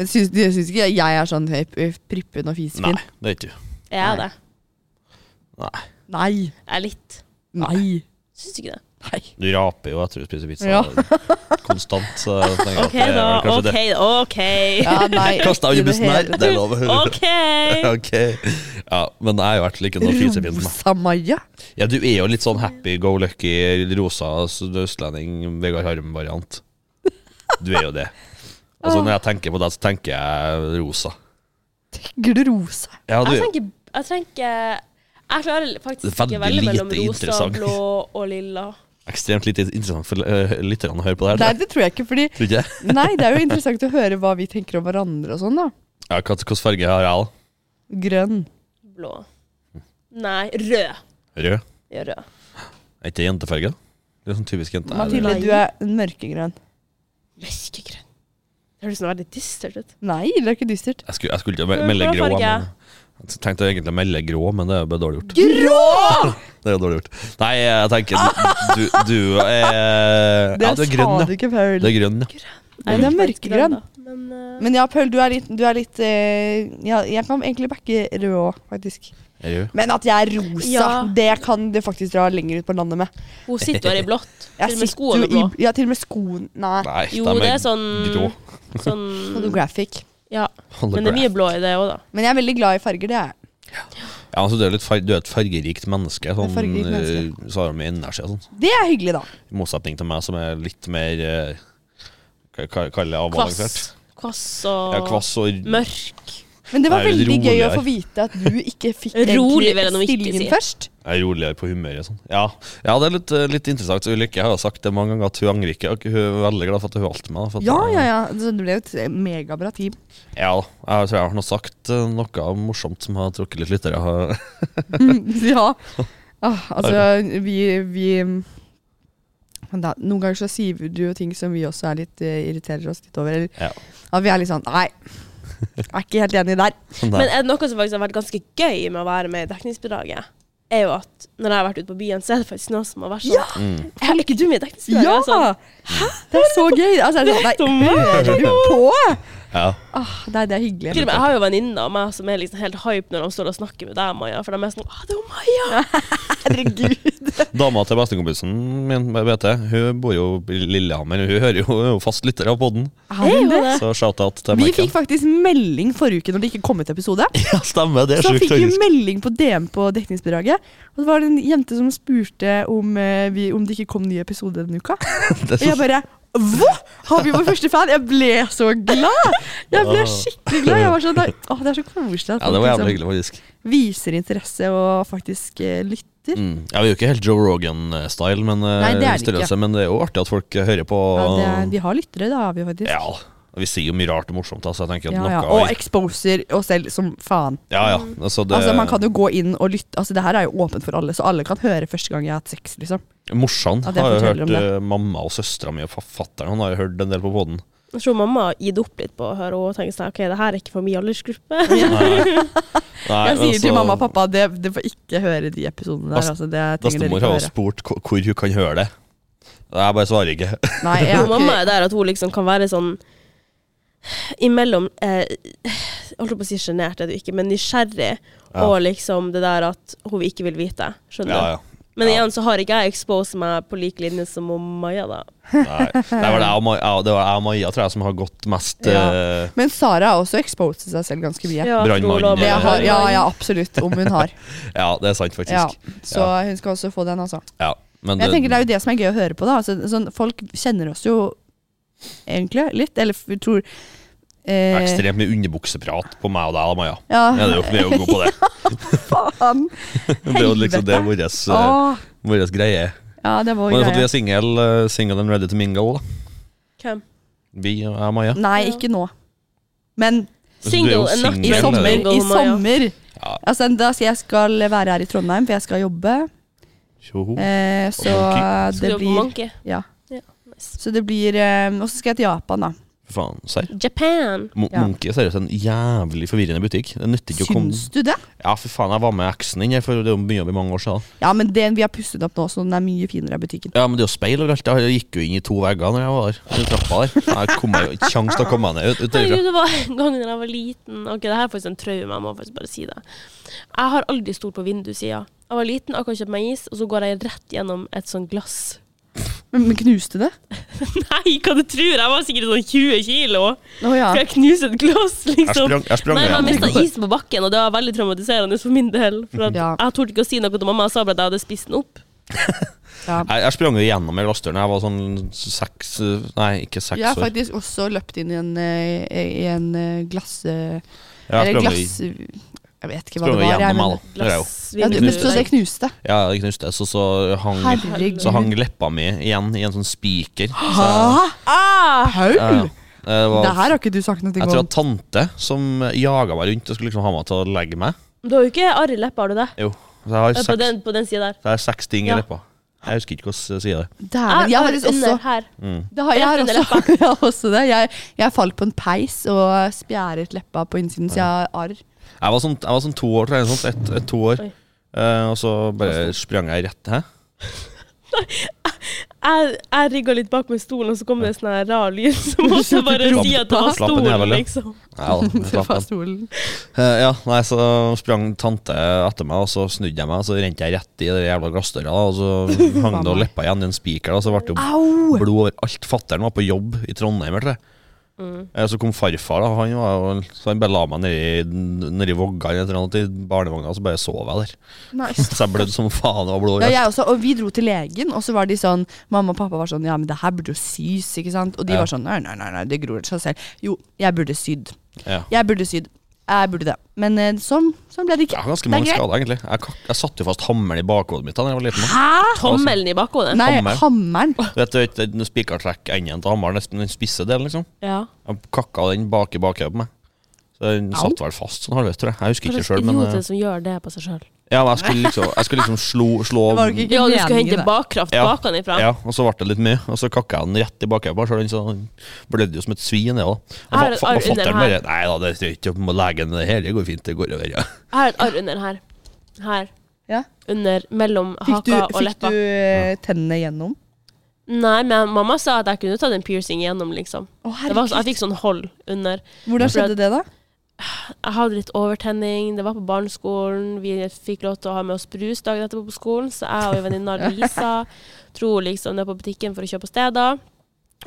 Jeg syns, jeg syns ikke jeg er sånn høy, prippen og
Nei,
fisefin.
det er ikke du.
Jeg er det.
Nei.
Jeg er litt.
Nei.
Syns du ikke det?
Nei.
Du raper jo etter du spiser pizza
Ja.
konstant. Så jeg tenker at
OK,
det er vel
da.
kanskje
OK, OK.
Ja, nei.
det. Kasta
ikke
under
i det
bussen her,
hele
det er lov.
OK.
ok. Ja, men jeg har jo vært like noe fisefin. som meg.
Rosa Maja?
Ja, du er jo litt sånn happy-go-lucky rosa s- østlending, Vegard Harm-variant. Du er jo det. Altså Når jeg tenker på deg, så tenker jeg rosa.
Tenker du rosa?
Ja, du,
Jeg
er jo-
tenker Jeg tenker jeg klarer
Det
faktisk
er
ikke
veldig
velge mellom
lite
rosa,
interessant.
blå og lilla.
ekstremt lite interessant for eh, lytterne å høre på det her.
Nei,
tror jeg.
det tror jeg ikke, fordi
Tror du ikke det?
Nei, det er jo interessant å høre hva vi tenker om hverandre og sånn, da.
Ja, hva- Hvilken farge har jeg, da?
Grønn.
Blå. Nei, rød.
Rød?
Ja, rød.
Er ikke det jentefarge? da? Det er sånn typisk jente.
Mathilde, du er mørkegrønn.
Mørkegrønn. Det høres noe veldig dystert ut.
Nei, det er ikke dystert.
Jeg skulle, jeg skulle til å
Hva-
me- melde
hva
grå.
farge er?
Men, jeg tenkte egentlig å melde grå, men det er jo bare dårlig gjort.
Grå!
Det er jo dårlig gjort. Nei, jeg tenker du, du er
Det
Ja, du er grønn,
sa du
ja.
ikke, Paul.
Du er grønn, ja.
Nei, det er mørkegrønn.
Men, eh,
Men ja, Paul, du er litt, du er litt eh, ja, Jeg kan egentlig backe rød òg, faktisk.
Er du?
Men at jeg er rosa,
Ja.
det kan det faktisk dra lenger ut på landet med.
hun sitter jo her i blått.
Jeg
Til og med
sitter
skoene
jo
er blå.
i- Ja, til og med skoen Nei.
Nei,
Jo,
de
det
er
er sånn,
grå.
sånn
Holographic.
Ja. Men det er mye blå i det òg, da.
Men jeg er veldig glad i farger, det er jeg.
Ja, altså, du, er litt far, du er et fargerikt menneske. Sånn,
Et fargerikt menneske.
eh, Så har du mye energi og sånn.
Det er hyggelig, da.
I motsetning til meg, som er litt mer eh, Hva hva- kaller jeg det? Avbalansert?
Kvass. Kvass og
Ja, kvass og
mørk.
Men det var
Det er litt
veldig gøy å
roligere.
få vite at du ikke fikk
Rolig vil jeg nå
egentlig
ikke
stillingen
si.
først.
Jeg er roligere på humøret og sånn. Ja. ja, det er litt, eh, litt interessant. Så Ulrikke har jo sagt det mange ganger at hun angrer ikke. og Hun er veldig glad for at hun valgte meg. da, For at,
Ja, ja, ja. Så det ble jo et megabra team.
Ja, jeg tror jeg har nå sagt eh, noe morsomt som har trukket litt lyttere. Jeg
ja.
har-
Ah, altså, vi, vi men da, Noen ganger så sier du jo ting som vi også er litt, eh, irriterer oss litt over. Eller,
Ja.
At vi er litt sånn Nei, jeg er ikke helt enig der.
Men
Nei.
er det noe som faktisk har vært ganske gøy med å være med i dekningsbidraget, er jo at når jeg har vært ute på byen, så er det faktisk noen som har vært sånn
Ja!
Mm.
Er ikke du med i dekningsbidraget?
Ja!
Jeg er Sånn,
Det er så gøy! Altså, er det sånn, nei, hører du på?
Ja.
Ah, nei, det er hyggelig.
Til og med, jeg har jo venninner av meg som er liksom helt hype når de står og snakker med deg, Maja. For de er sånn Å, det er jo Maja!
Herregud.
Dama til bestekompisen min, BT, hun bor jo i Lillehammer. Hun hører jo, hun er jo fast lytter av podden.
Er jo det.
Så shout-out til
Vi
Maiken.
fikk faktisk melding forrige uke når det ikke kom ut episode.
Ja, stemmer. Det er
Så
sjukt.
fikk vi
tragisk.
melding på DM på dekningsbidraget. Og det var det en jente som spurte om, eh, vi, om det ikke kom ny episode denne uka.
Det
Og jeg bare Hva?! Har vi vår første fan? Jeg ble så glad! Jeg ble skikkelig glad. Jeg var sånn, Åh, det er så koselig at
Ja, det
folk
var
liksom
jævlig hyggelig, faktisk.
viser interesse og faktisk eh, lytter.
Mm. Ja, Vi er jo ikke helt Joe Rogan-style, men, eh,
Nei, det er det
størrelse, men det er jo artig at folk hører på.
Ja, det er, vi har lyttere, det har vi faktisk.
Ja, og vi sier jo mye rart og morsomt, da, så jeg tenker at
Ja, ja.
noe
Og exposer oss selv som faen.
Ja, ja. Altså, det,
Altså, man kan jo gå inn og lytte. Altså, det her er jo åpent for alle, så alle kan høre første gang jeg har hatt sex. liksom.
Morsan
Ja, det
har jo
forteller
hørt
om det.
eh, mamma og søstera mi og forfatteren han har jo hørt en del på poden.
Jeg tror mamma har gitt opp litt på å høre og tenker sånn OK, det her er ikke for min aldersgruppe.
Jeg
altså-
sier til mamma og pappa det, det får ikke høre de episodene der.
Bast-
Altså, det trenger dere
Bestemor
ikke
har
høre.
jo spurt hvor hvor hun kan høre det. Jeg bare svarer ikke.
Nei, jeg,
Og mamma
har
er der at hun liksom kan være sånn imellom eh, Holdt på å si sjenert, er du ikke, men nysgjerrig.
Ja.
Og liksom det der at hun ikke vil vite. Skjønner du?
Ja, ja.
Men
Ja.
igjen så har ikke jeg exposed meg på lik linje som om Maja, da.
Nei. Det var det jeg og Ma- ja, det var jeg og Maja tror jeg, som har gått mest
Ja.
eh,
ikke- Men Sara har også exposed seg selv ganske mye.
Ja,
Brannmann,
for hun lå med
Det
ja,
har,
brannmann.
ja, ja, absolutt. Om hun har.
ja, det er sant, faktisk.
Ja,
Ja.
så hun skal også få den, altså. Men
Men
jeg tenker Det er jo det som er gøy å høre på. da altså, sånn, Folk kjenner oss jo egentlig litt, eller f- tror eh,
ekstremt mye underbukseprat på meg og deg, da, Maja. Ja,
Ja,
det er jo, vi er jo gode på det.
faen!
Det er jo liksom det er vår eh,
Åh,
vår greie.
ja, det var jo
Men det er for at vi
greia.
er single, eh, single and ready to mingle. Da.
Hvem?
Vi og jeg og Maja.
Nei, ikke nå. Men
Single
Altså, Du er jo
and not
i
ready to
single.
sommer.
mingle,
I
Maja.
sommer.
Ja.
Altså, da skal jeg skal være her i Trondheim, for jeg skal jobbe.
Tjoho.
Eh, så
Ok.
Skal
det
du på
blir
Monkey?
Ja.
Ja, nice.
Så det blir eh, Og så skal jeg til Japan, da.
Faen, serr.
Japan.
Mo
Ja.
Monkey er seriøst en jævlig forvirrende butikk. Det nytter ikke å komme
Syns du det?
Ja, for faen, jeg var med eksen inn her for det er jo mye over mange år siden.
Ja, men den vi har pusset opp nå, så den er mye finere i butikken.
Ja, men det er jo speil overalt. Jeg gikk jo inn i to vegger når jeg var der. I trappa der. Jeg kom meg jo ikke kjangs til å komme meg ned ut, ut derifra.
Herregud, det var en gang da jeg var liten Ok, det her er faktisk en traume, jeg må faktisk bare si det. Jeg har aldri stolt på vindussida. Jeg var liten, akkurat kjøpt meg is, og så går jeg rett gjennom et sånt glass.
Men, men knuste det?
Nei, hva du tror? Jeg var sikkert sånn 20 kilo.
Å ja.
For jeg knuste et glass,
Jeg
liksom.
sprang, jeg sprang
Nei, man
ned.
mista isen på bakken, og det var veldig traumatiserende for min del. For at
Ja.
Jeg torde ikke å si noe til mamma, jeg sa bare at jeg hadde spist den opp.
ja.
Jeg, jeg sprang jo gjennom ei glassdør da jeg var sånn seks Nei, ikke seks
Jeg har
år.
faktisk også løpt inn i en, eh, i en eh, glass... eh,
Ja, jeg
eller
sprang
glass...
jo-
Jeg vet ikke hva
sprang
det var.
jo
Jeg,
gjennom meg,
men,
da. Det er jo.
ja, du, men
Glassvindu.
så det knuste?
Ja, det knuste. Så, så, hang,
Herregud.
så hang leppa mi igjen i en sånn spiker. Så jeg-
Hæ? Paul!
Ja, ja. Det
Det her
var,
har ikke du sagt noe
jeg tror
om.
at tante som jaga meg rundt og skulle liksom ha meg til å legge meg
Du har jo ikke arr i leppa, har du det? Eh,
Jo. Så jeg har
På
seks,
den, på den sida der.
så jeg har seks ting
Ja.
i leppa. Jeg husker ikke hvordan jeg sier det.
Dæven. Jeg har faktisk også
under her.
det har, jeg, har
Rett under
også, jeg har også det. Jeg, jeg falt på en peis og spjæret leppa på innsiden, så jeg har arr.
Jeg var sånn, jeg var sånn to år, tror jeg. Sånn, et, et, to år.
Oi.
Eh, og så bare sprang jeg rett Hæ?
Jeg, jeg rigga litt bak med stolen, og så kom det en sånn her rar lyd som måtte bare
Slapp-
si at det var
slapp den
stolen,
jævelen.
liksom.
Ja, da, jeg slapp
Fra
den.
stolen.
Eh, ja, nei, så sprang tante etter meg, og så snudde jeg meg, og så rente jeg rett i den jævla glassdøra, og så hang det og leppa igjen i en spiker, da, så ble det jo
Au!
blod over alt. Fatteren var på jobb i Trondheim, eller
Mm.
Eh, Så kom farfar, da, han, var, jo- så han bare la meg nedi, nedi vogga eller et eller annet, i barnevogna, og så bare sov jeg der.
Nice.
Så jeg blødde som faen, det var blod
Ja,
overalt.
jeg også, og vi dro til legen, og så var de sånn Mamma og pappa var sånn Ja, men det her burde jo sys, ikke sant? Og de
Ja.
var sånn Nei, nei, nei, nei det gror seg selv. Jo, jeg burde sydd.
Ja.
Jeg burde sydd. Jeg burde det. Men eh, sånn, sånn ble det
Jeg
ikke.
har ganske
Det er
mange
greit.
skader, egentlig. Jeg, kak- jeg satte jo fast hammeren i bakhodet mitt da jeg var liten.
Hæ?!
Tommelen i bakhodet.
Nei,
Hammeren.
hammeren.
Du vet, du vet den spikertrekk-enden til hammeren, nesten den spisse delen, liksom.
Ja.
Jeg kakka den bak i bakhodet på meg. Så den
Au.
satt vel fast sånn halvveis, tror jeg. Jeg husker
Hva
ikke
slags
sjøl, men
idiot er
eh,
det som gjør det på seg sjøl?
Ja, men jeg skulle liksom, jeg skulle liksom slå, slå
Det var jo ikke
Ja, du skal
meningen,
hente
det.
bakkraft
Ja.
bakenfra?
Ja, og så ble det litt mye, og så kakka jeg den rett i bakhodet på meg, så den så- blødde jo som et svin, det òg. Og
Har-
fa- fa-
har
og
du under
fatter'n
her?
bare Nei da, det er ikke på legen, det her det går fint, det går over. Ja.
Jeg har et arr under her. Her.
Ja.
Under, mellom
Fikk du,
haka og
fikk
leppa.
du eh, tennene gjennom?
Nei, men mamma sa at jeg kunne tatt en piercing igjennom, liksom.
Å,
Det var,
herregud.
så- jeg fikk sånn hold under.
Hvordan skjedde det, da?
Jeg hadde litt overtenning, det var på barneskolen. Vi fikk lov til å ha med oss brus dagen etterpå på skolen, så jeg og en venninne Lisa dro liksom ned på butikken for å kjøpe steder.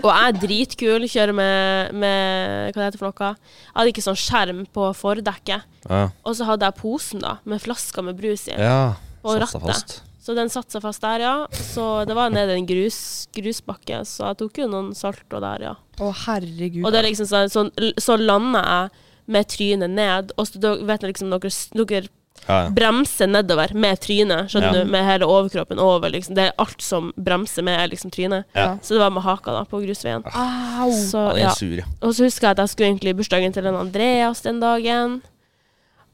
Og jeg er dritkul, kjører med, med Hva det heter for noe? Jeg hadde ikke sånn skjerm på fordekket.
Ja.
Og så hadde jeg posen, da, med flasker med brus i.
ja.
Og
Satt seg
rattet.
fast.
Så den satte seg fast der, ja. Så det var nede i en grus, grusbakke, så jeg tok jo noen salto der, ja.
Å, herregud.
Og det er liksom sånn, sånn så lander jeg med trynet ned, og så da vet jeg liksom dere, dere
Ja, ja.
bremser nedover med trynet, skjønner
Ja.
du, med hele overkroppen over, liksom. Det er alt som bremser med, er liksom trynet.
Ja.
Så det var med haka, da, på grusveien.
Ah, Au!
Så,
Ja, den
ja.
er sur, ja.
Og så husker jeg at jeg skulle egentlig i bursdagen til en Andreas den dagen.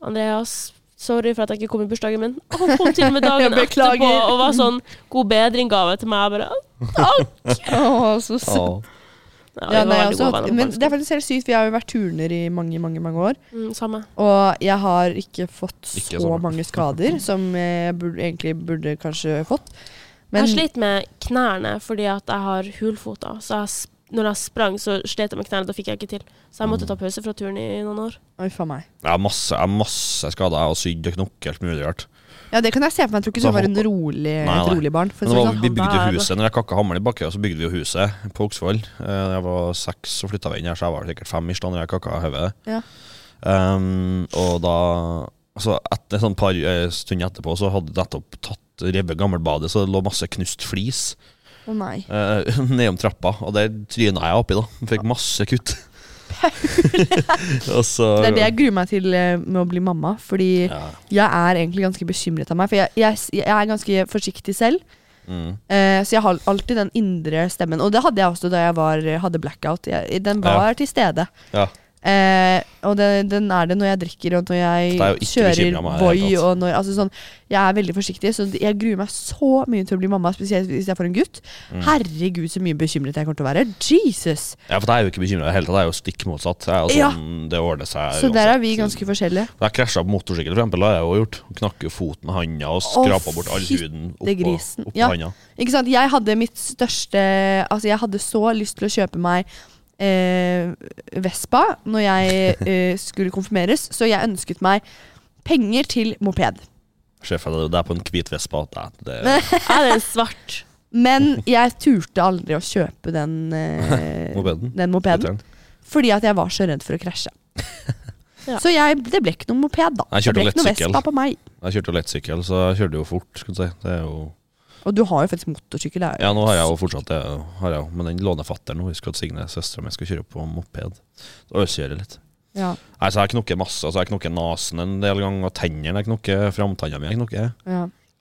Andreas, sorry for at jeg ikke kom i bursdagen min. Og han kom til og med
Jeg
dagen
beklager.
etterpå og var sånn god bedring-gave til meg. Jeg bare,
Å, så søtt.
Å.
ja, vi
Ja, nei, jeg har
var veldig
også
gode
hatt-
venner på
men det er
barneskolen.
faktisk helt sykt, for jeg har jo vært turner i mange, mange, mange år.
mm, Samme.
Og jeg har ikke fått
Ikke
så
sånn.
mange skader som jeg burde, egentlig burde kanskje fått. Men
Jeg har slitt med knærne fordi at jeg har hulfoter. Så jeg, sp- når jeg sprang, så slet jeg med knærne. Da fikk jeg ikke til. Så jeg måtte ta pause fra turen i noen år.
Oi, faen meg.
Jeg har masse, jeg har masse skader. Jeg har sydd og knokket helt mulig rart.
Ja, det kan jeg se for meg. Jeg tror ikke
Så
du var en
håper-
rolig, et
Nei, nei.
rolig barn. For å si det
Men det var,
sånn.
vi bygde
der.
huset Når jeg kakka hammeren i bakken, så bygde vi jo huset på Oksvoll. Eh, Jeg var seks og flytta vi inn her, så jeg var sikkert fem ish da når jeg kakka hodet.
Ja.
Um, og da Så etter sånn par eh, stunder etterpå så hadde jeg nettopp tatt revet gammelbadet, så det lå masse knust flis
Å nei.
eh, nedom trappa, og der tryna jeg oppi, da. Fikk masse kutt. og så
Det er det jeg gruer meg til eh, med å bli mamma. Fordi
Ja.
jeg er egentlig ganske bekymret av meg. For jeg, jeg, jeg er ganske forsiktig selv.
Mm.
Eh, så jeg har alltid den indre stemmen. Og det hadde jeg også da jeg var, hadde blackout. Jeg, den var til stede.
Ja.
Eh, og det, den er det når jeg drikker, og når jeg
Det er jo ikke
kjører
bekymret meg i det
Voi.
hele tatt.
Og når, altså sånn, jeg er veldig forsiktig, så jeg gruer meg så mye til å bli mamma. Spesielt hvis jeg får en gutt.
Mm.
Herregud, så mye bekymret jeg kommer til å være. Jesus!
ja, for jeg er jo ikke bekymra i det hele tatt. Jeg er jo stikk motsatt. Jeg er jo
Ja.
sånn, Det ordner seg.
Så der er vi
uansett.
ganske forskjellige.
Jeg krasja på motorsykkel, for eksempel, har jeg jo gjort. Knakk jo foten, handa, og skrapa bort all huden oppå,
fittegrisen.
oppå
Ja.
handa.
Ikke sant? Jeg hadde mitt største Altså, jeg hadde så lyst til å kjøpe meg eh, Vespa når jeg eh, skulle konfirmeres, så jeg ønsket meg penger til moped.
Sjef, det det er på en hvit vespa. Det, er- det,
Nei.
Jeg er en svart.
Men jeg turte aldri å kjøpe den, eh,
Mopeden?
den mopeden.
Vet du.
Fordi at jeg var så redd for å krasje.
Ja.
Så jeg, det ble ikke noen moped, da.
Jeg kjørte
det ble ikke noe
lettsykkel.
Vespa på meg.
jeg kjørte jo lettsykkel, så jeg kjørte jo fort. Skal du si. det er jo,
Og du har jo faktisk motorsykkel. det er jo-
ja, nå har jeg jo fortsatt det, har jeg jo. men den låner fatter'n nå. Husker at Signe, søstera mi, skal kjøre på moped. Da øskjører jeg litt.
Ja,
Nei, så jeg knokker masse. Altså, jeg knokker nesen en del ganger, og tennene. Jeg knokker framtanna mi. Jeg knokker.
ja.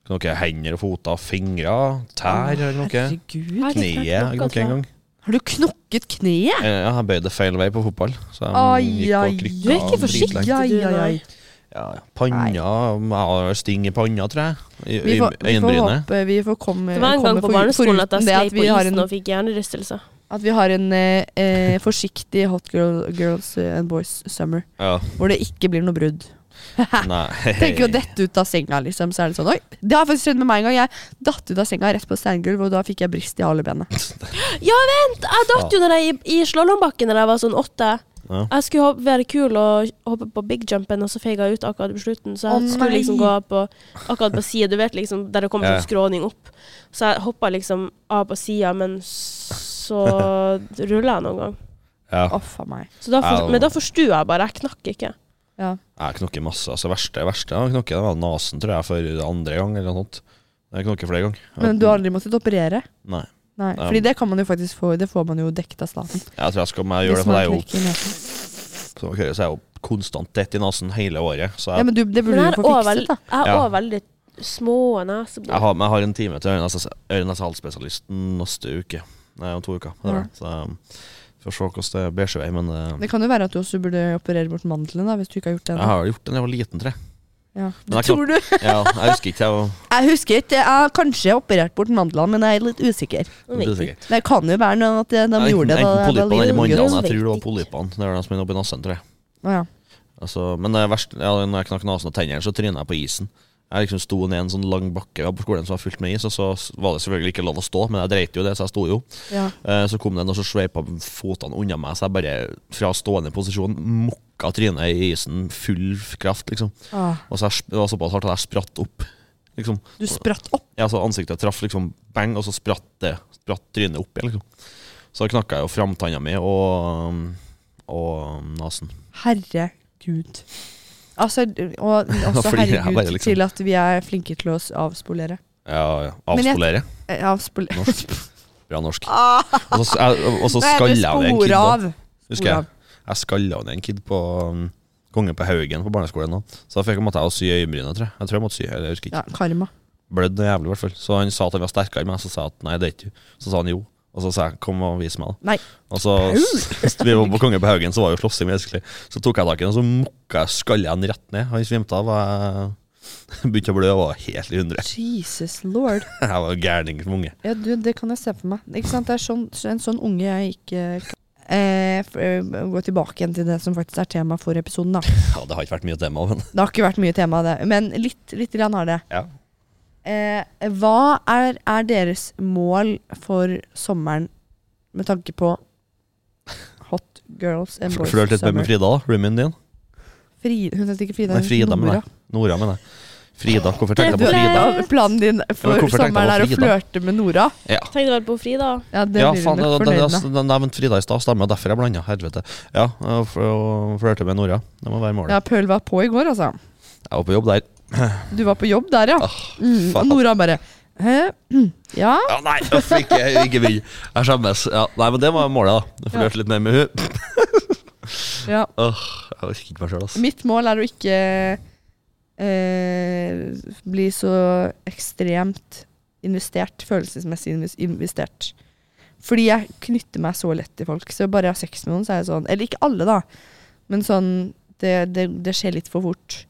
knokker hender og føtter, fingre, tær. Jeg knokker.
Herregud.
Kneet. Jeg knokker en gang.
Har du knokket kneet?
Eh, Ja, jeg bøyde feil vei på fotball. Så jeg
Ai,
gikk
ai,
og krykka
Du er ikke
dritlenge.
forsiktig, du.
Ai, ai, ai.
Nei.
Ja, panna
Nei.
Jeg har sting i panna, tror jeg. I,
Vi
i
får, vi får
øyenbrynet.
håpe vi får komme,
Det var en gang
komme
på
for-
barneskolen at jeg
foruten det
sklei på
vi har
isen
en,
og fikk hjernerystelse.
At vi har en eh, eh, forsiktig Hot girl, Girls eh, and Boys Summer,
Ja,
hvor det ikke blir noe brudd.
nei.
Tenker å dette ut av senga, liksom. Så er det sånn, oi, det har faktisk skjedd med meg en gang. Jeg datt ut av senga rett på steingulv, og da fikk jeg brist i halebenet.
Jeg datt jo når jeg, i i slalåmbakken da jeg var sånn åtte.
Ja.
Jeg skulle hopp- være kul og hoppe på big jumpen, og så feig jeg ut akkurat på slutten. Så jeg
Å,
skulle
nei.
liksom gå av på akkurat på sida, du vet liksom, der det kommer
Ja, ja.
sånn skråning opp. Så jeg hoppa liksom av på sida, men så rulla jeg noen gang.
Ja.
Å, faen meg.
Så da for,
Au.
men da forstua jeg bare. Jeg knakk ikke.
Ja.
Jeg knokker masse. altså Verste verste jeg knokker, det var nesen, tror jeg, for andre gang eller noe sånt. Jeg knokker flere ganger.
Men du har aldri måttet operere?
Nei.
Nei,
Ja.
fordi det kan man jo faktisk få Det får man jo dekket av staten.
Jeg tror jeg skal om jeg gjør det,
Hvis
for jeg
man
er jo,
knekker nesen.
som dere hører, så er jeg jo konstant tett i nesen hele året. Så
Ja,
jeg,
men du, det
Men
burde
jeg
du
har
få
også
fikset,
veld-
da.
jeg har
Ja.
også veldig små nesebor.
jeg, har, men jeg har en time til øre-nese-hals-spesialisten neste uke. Nei, om to uker. Det er det. Så um, får se hvordan det bærer seg vei, men eh,
Det kan jo være at du også burde operere bort mandelen, da, hvis du ikke har gjort det
jeg
ennå.
har gjort det da jeg var liten, tror jeg.
Ja.
Men jeg
Tror du?
Ja, jeg husker ikke. Jeg var,
Jeg husker ikke. Jeg har kanskje operert bort mandlene, men jeg er litt usikker.
Det er
det er
viktig.
sikkert.
Det kan jo være noe at de
Enten-
gjorde det da jeg
Enten
var liten
polypene eller
gutt.
mandlene.
gutt.
Jeg tror det var polypene. Det var de som er oppi nesen, tror jeg.
Å, ja.
Altså, men det verste, ja, når jeg knakk nesen og tennene, så tryna jeg på isen. Jeg liksom sto ned en sånn lang bakke på skolen som var fullt med is, og så var det selvfølgelig ikke lov å stå, men jeg dreit jo i det, så jeg sto jo.
Ja.
Eh, Så kom det en og så sveipa føttene unna meg, så jeg bare fra stående posisjon mokka trynet i isen full kraft, liksom.
Ah,
Og så jeg, sp- det var såpass hardt at jeg spratt opp, liksom.
du spratt opp.
Ja, så ansiktet traff liksom bang, og så spratt, det, spratt trynet opp igjen, liksom. Så knakka jeg jo framtanna mi og, og nesen.
Herregud. Altså, og også
Fordi jeg
herregud
bare liksom-
til at vi er flinke til å s- avspolere.
Ja, ja.
Men jeg-
Avspolere.
Eh, Avspolere
Norsk. Bra norsk. Og så, jeg, og så
Nei,
skalla
du
jeg ned en
sporer
kid. da.
av.
Husker jeg.
Sporer
Jeg skalla ned en kid på um, Kongen på Haugen på barneskolen. Da. Så da fikk jeg måtte jeg å sy øyenbrynet, tror jeg. Jeg tror jeg måtte sy, eller jeg husker ikke.
Ja, karma.
Blødd noe jævlig, i hvert fall. Så han sa at han var sterkere enn meg, så sa jeg at nei, det er ikke du. Så sa han jo. Og så sa jeg kom og vis meg, da.
Nei.
Og så vi var på Kongen på Haugen, så var det jo slåssing, basically. Så tok jeg tak i han, og så mokka jeg skalla han rett ned. Han svimte av. og jeg Begynte å blø og var helt i hundre.
Jesus lord.
Jeg var gærning som unge.
Ja, du, det kan jeg se for meg. Ikke sant? Det er sånn, så en sånn unge jeg ikke kan Eh, f- eh, gå tilbake igjen til det som faktisk er tema for episoden. Da. Det
Ja, det har ikke vært mye tema, men
har ikke vært mye tema, det. Men litt, litt grann har det.
ja.
Eh, hva er, er deres mål for sommeren med tanke på Hot Girls and Boys
Flørt litt mer
Summer?
med Frida, da. Roomien din.
Frida. Hun heter ikke Frida,
Nei,
hun
Frida,
heter
mener
Nora.
jeg. Nora, mener jeg. Frida, hvorfor tenkte jeg
Du-
på Frida?
Ja, Planen din for
Ja, men hvorfor tenkte
sommeren
jeg på
er å
Frida?
flørte med Nora?
Ja,
Tenkte vel på Frida.
Ja, det
ja
blir hun
faen, det,
nok
det,
fornøyd
det,
med.
det nevnte Frida i stad, stemmer, derfor jeg blanda, helvete. Ja, og f- og flørte med Nora. Det må være målet.
Ja, Pøl var på i går, altså.
Jeg var på jobb der.
Du var på jobb der, ja.
Ah,
Mm, og
faen.
Nora bare Hæ? Ja?
Ja, nei, uff, ikke, ikke begynn. Jeg skjemmes. Ja, nei, men det var målet, da. Flørte litt mer med hun.
ja.
Åh, jeg orker ikke meg sjøl, ass.
Mitt mål er å ikke eh, bli så ekstremt investert, følelsesmessig inves- investert. Fordi jeg knytter meg så lett til folk. Så bare jeg har sex med noen, så er jeg sånn Eller ikke alle, da, men sånn Det, det, det skjer litt for fort.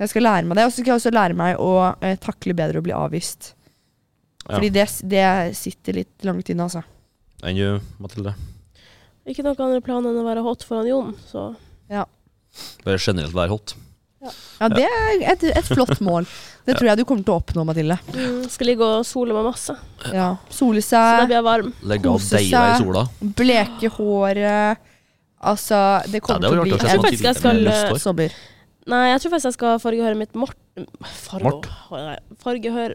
Jeg skal lære meg det. Og så skal jeg også lære meg å eh, takle bedre å bli avvist.
Ja.
Fordi det, det sitter litt langt inne, altså.
Enn du, Mathilde.
Ikke noen andre planer enn å være hot foran Jon, så
Bare generelt være hot.
Ja, det er et, et flott mål. Det tror jeg du kommer til å oppnå, Mathilde.
mm, skal ligge og sole meg masse.
Ja. Sole
Så da
seg,
blir jeg varm.
Legge av
Kose
deila i
seg.
sola.
bleke håret Altså, det kommer
Ja, det
til å
var
bli en
Jeg tror
rart å se sånn
faktisk jeg
type
skal,
med lyst
eh,
hår.
sommer.
Nei, jeg tror faktisk jeg skal farge håret mitt mort... Fargo.
Mort?
Nei, Farge, hår,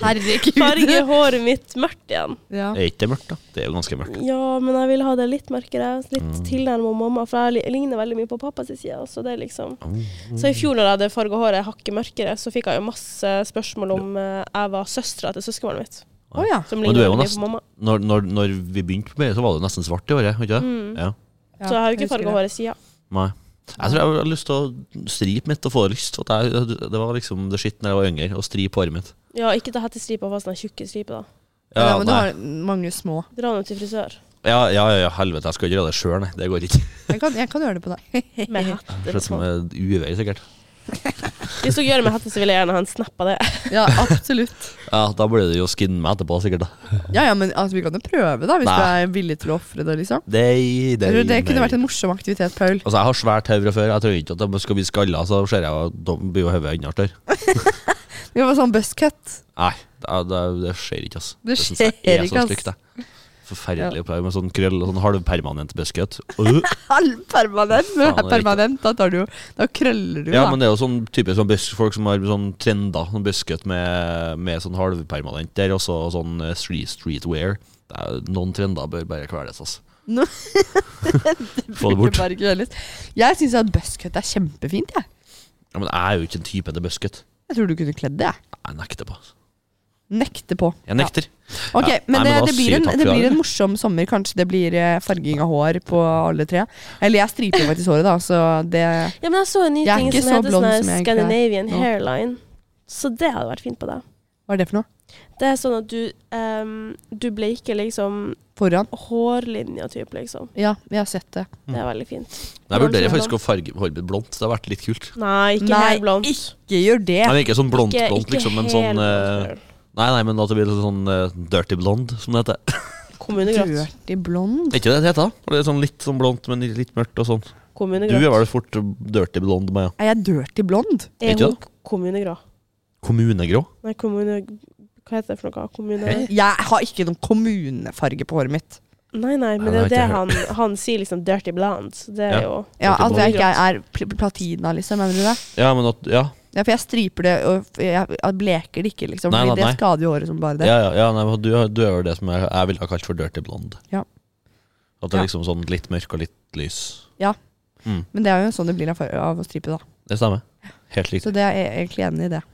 Herregud.
farge håret mitt mørkt igjen.
Ja.
Er ikke det mørkt, da? Det er jo ganske mørkt.
Ja, men jeg vil ha det litt mørkere. Litt
Mm.
tilnærmet mamma, for jeg li- ligner veldig mye på pappas side. Så det er liksom
Mm.
Så i fjor når jeg hadde farga håret hakket mørkere, så fikk jeg jo masse spørsmål om eh, jeg var søstera til søskenbarnet mitt.
Å ja.
Som
Men du
ligner
er jo
veldig mye
nesten-
på mamma.
Når, når, når vi begynte på BI, så var det nesten svart i håret, var ikke det?
Mm.
Ja.
ja.
så jeg har jo
jeg
ikke
husker
farga
det.
håret siden.
Nei. Jeg tror jeg har lyst til å stripe mitt og få lyst. At jeg, det var liksom det skitt når jeg var yngre, å stripe håret mitt.
Ja, ikke ta hettestripa fast, den tjukke stripa, da.
Ja, men du
nei.
har mange små.
Dra nå til frisør.
ja, ja, ja, ja, helvete, jeg skal ikke gjøre det sjøl, nei. Det går ikke.
Jeg kan, jeg kan gjøre det på deg.
Med hette.
Slett
Liksom.
med uvær, sikkert.
Hvis dere gjør det med hette, så vil jeg gjerne ha en snap av det.
Ja, absolutt.
Ja, Da blir det jo å skinne meg etterpå, sikkert. da.
Ja, ja, men altså, vi kan jo prøve, da, hvis
Nei.
du er villig til å ofre det, liksom.
Nei,
Jeg
nei,
tror det kunne
nei.
vært en morsom aktivitet, Paul.
Altså, Jeg har svært hode fra før. Jeg tror ikke at de skal bli skalla, så ser jeg at de blir jo hodet enda større.
Vi var sånn buzzcut.
Nei, det, det, det skjer ikke, altså.
Det
synes
skjer
jeg er
ikke,
så
ass.
stygt, det. Forferdelig å med sånn krøll og sånn halvpermanent buskut. Øh.
Halvpermanent. Når
Faen, det
det er
er
permanent, da, tar du, jo- da krøller du,
Ja,
da.
men det er jo sånn typisk sånn busk, folk som har sånn trender. Sånn buskut med, med sånn halvpermanent der, og så sånn eh, street, streetwear. Det er, noen trender bør bare kveles, altså.
No.
Få det bort.
Bare krølles. Jeg syns at buzzcut er kjempefint, jeg.
Ja, men jeg er jo ikke en type til buskut.
Jeg tror du kunne kledd det, jeg.
Jeg nekter på. altså.
Nekte på.
Jeg nekter.
Ok,
Ja,
men,
nei, men
det,
da
det,
sier vi
blir en,
takk for
det
i dag,
blir en
da.
morsom sommer. Kanskje det blir eh, farging av hår på alle tre. Eller jeg striper jo faktisk håret, da, så det
Ja, men jeg så en ny
Jeg er
ting
ikke
som
så
heter
blond
sånn
som jeg
her
egentlig er
Scandinavian
nå.
hairline. Så det hadde vært fint på deg.
Hva er det for noe?
Det er sånn at du, ehm, du bleiker liksom
Foran?
hårlinja type, liksom.
Ja, jeg har sett det.
Det
Mm.
er veldig fint.
Men Jeg vurderer faktisk å farge håret mitt blondt. Det har vært litt kult.
Nei, ikke
Nei,
helt blondt.
Ikke gjør det!
Nei, men ikke sånn blondt-blondt,
Ikke- ikke
liksom, men sånn
helt
eh, Nei, nei, men at det blir litt sånn eh, dirty blonde, som det heter.
Kommunegratt.
Dirty blond.
Er ikke det det heter? da? Det er sånn litt sånn blondt, men litt mørkt og sånn. Du er
Kommunegratt.
vel fort dirty blond, Maja.
Er jeg dirty blond?
Er
ikke
hun kommunegrå?
Kommunegrå?
Nei, kommune... Hva heter det for noe? Kommune...
Hæ?
Jeg har ikke noen kommunefarge på håret mitt.
Nei, nei, men
Nei,
det er jo
det
det
har
han, han sier, liksom. Dirty blonde. Så Det
Ja. Mm.
er jo
Ja,
Dirty
At
blond.
jeg ikke er pl- platina, liksom. Mener du det?
Ja, men at Ja,
Ja, for jeg striper det, og f- jeg jeg bleker det ikke, liksom.
Nei,
fordi
nei, nei.
det skader jo håret som bare det.
ja, ja, ja nei, men du, du er jo det som jeg, jeg ville ha kalt for dirty blond.
Ja.
At det er
Ja.
liksom sånn litt mørk og litt lys.
Men det er jo sånn det blir av, av å stripe, da.
Det stemmer. Helt
Så
riktig.
det er jeg egentlig enig i det.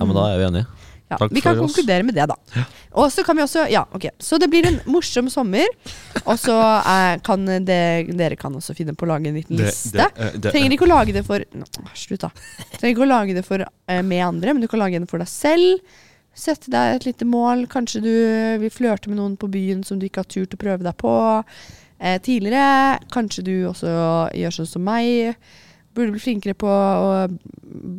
Ja, men da er vi enige.
Ja,
Takk
vi kan
for oss.
konkludere med det, da. Og så kan vi også Ja, ok. Så det blir en morsom sommer. Og så eh, kan det, dere kan også finne på å lage en liten liste. Trenger ikke å lage det for Nå, Slutt, da. Trenger ikke å lage det for eh, med andre, men du kan lage en for deg selv. Sette deg et lite mål. Kanskje du vil flørte med noen på byen som du ikke har turt å prøve deg på eh, tidligere. Kanskje du også gjør sånn som meg. Burde bli flinkere på å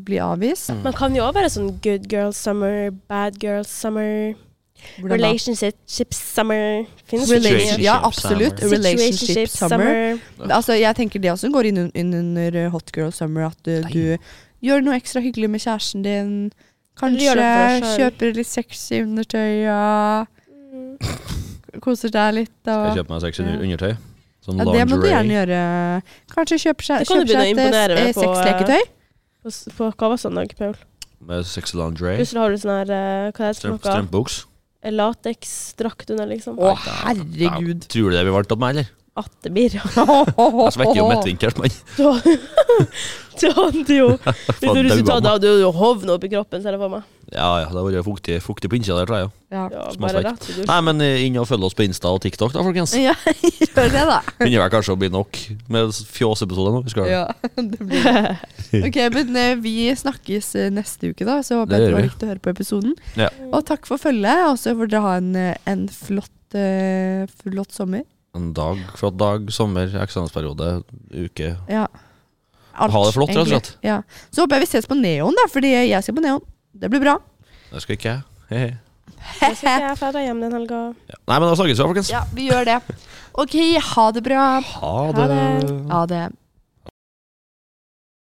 bli avvist.
Man kan jo også være sånn good girl summer, bad girl summer,
Hvordan da?
relationship summer. Finnes det mye?
Relation-
Relationship, ja, absolutt.
summer.
Relationship summer. Altså, jeg tenker det også går inn un- inn under hot girl summer. At du, du gjør noe ekstra hyggelig med kjæresten din. Kanskje
Eller gjør det for deg selv.
kjøper litt sexy undertøy. Ja. Koser deg litt.
Jeg
Og,
kjøper meg sexy undertøy. Sånn
ja, det må du gjerne gjøre. Kanskje kjøpe seg,
Det kan du
kjøpe seg
begynne å
et
imponere
eh,
med på,
sexleketøy.
På, s- på hva var søndag, Paul?
Med sexy lingerie.
Plutselig har du sånn her eh, Hva heter det for
strøm-
noe?
Strømpebuks.
Lateksdrakt under, liksom.
Å,
Ja,
herregud.
Tror du det blir varmt opp meg, eller?
At det blir ja.
Jeg svekker jo midtvinkelen, mann.
Du hadde jo Hvis du
daua
skulle ta
meg.
det av, du hadde jo hovna opp i kroppen, ser jeg for meg.
Ja, ja, det har vært fuktig, fuktig på innsida der, tror jeg. jo.
Ja.
Ja, bare
Småsvett.
rett i dusj.
Nei, men eh, inn og følg oss på Insta og TikTok, da, folkens.
ja, gjør det, da.
Kunne vel kanskje å bli nok med fjåsepisode nå. Vi skal
Ja, det blir Ok, men eh, vi snakkes eh, neste uke, da. Så håper jeg
Det
det
gjør
var
vi.
riktig å høre på episoden.
Ja.
Og takk for følget, og så får dere ha en, eh, en flott, eh, flott sommer.
En dag fra dag, sommer, eksamensperiode, uke.
Ja. Alt,
Ha det flott, rett og
egentlig.
slett.
Ja. Så håper jeg vi ses på Neon, da, fordi jeg skal på Neon. Det blir bra.
Det skal ikke jeg. Hehe.
Da skal jeg dra hjem den helga.
Ja. Nei, men da snakkes vi, folkens.
Ja, vi gjør det. Ok, ha det bra.
Ha
Ha det.
det.
Ha det.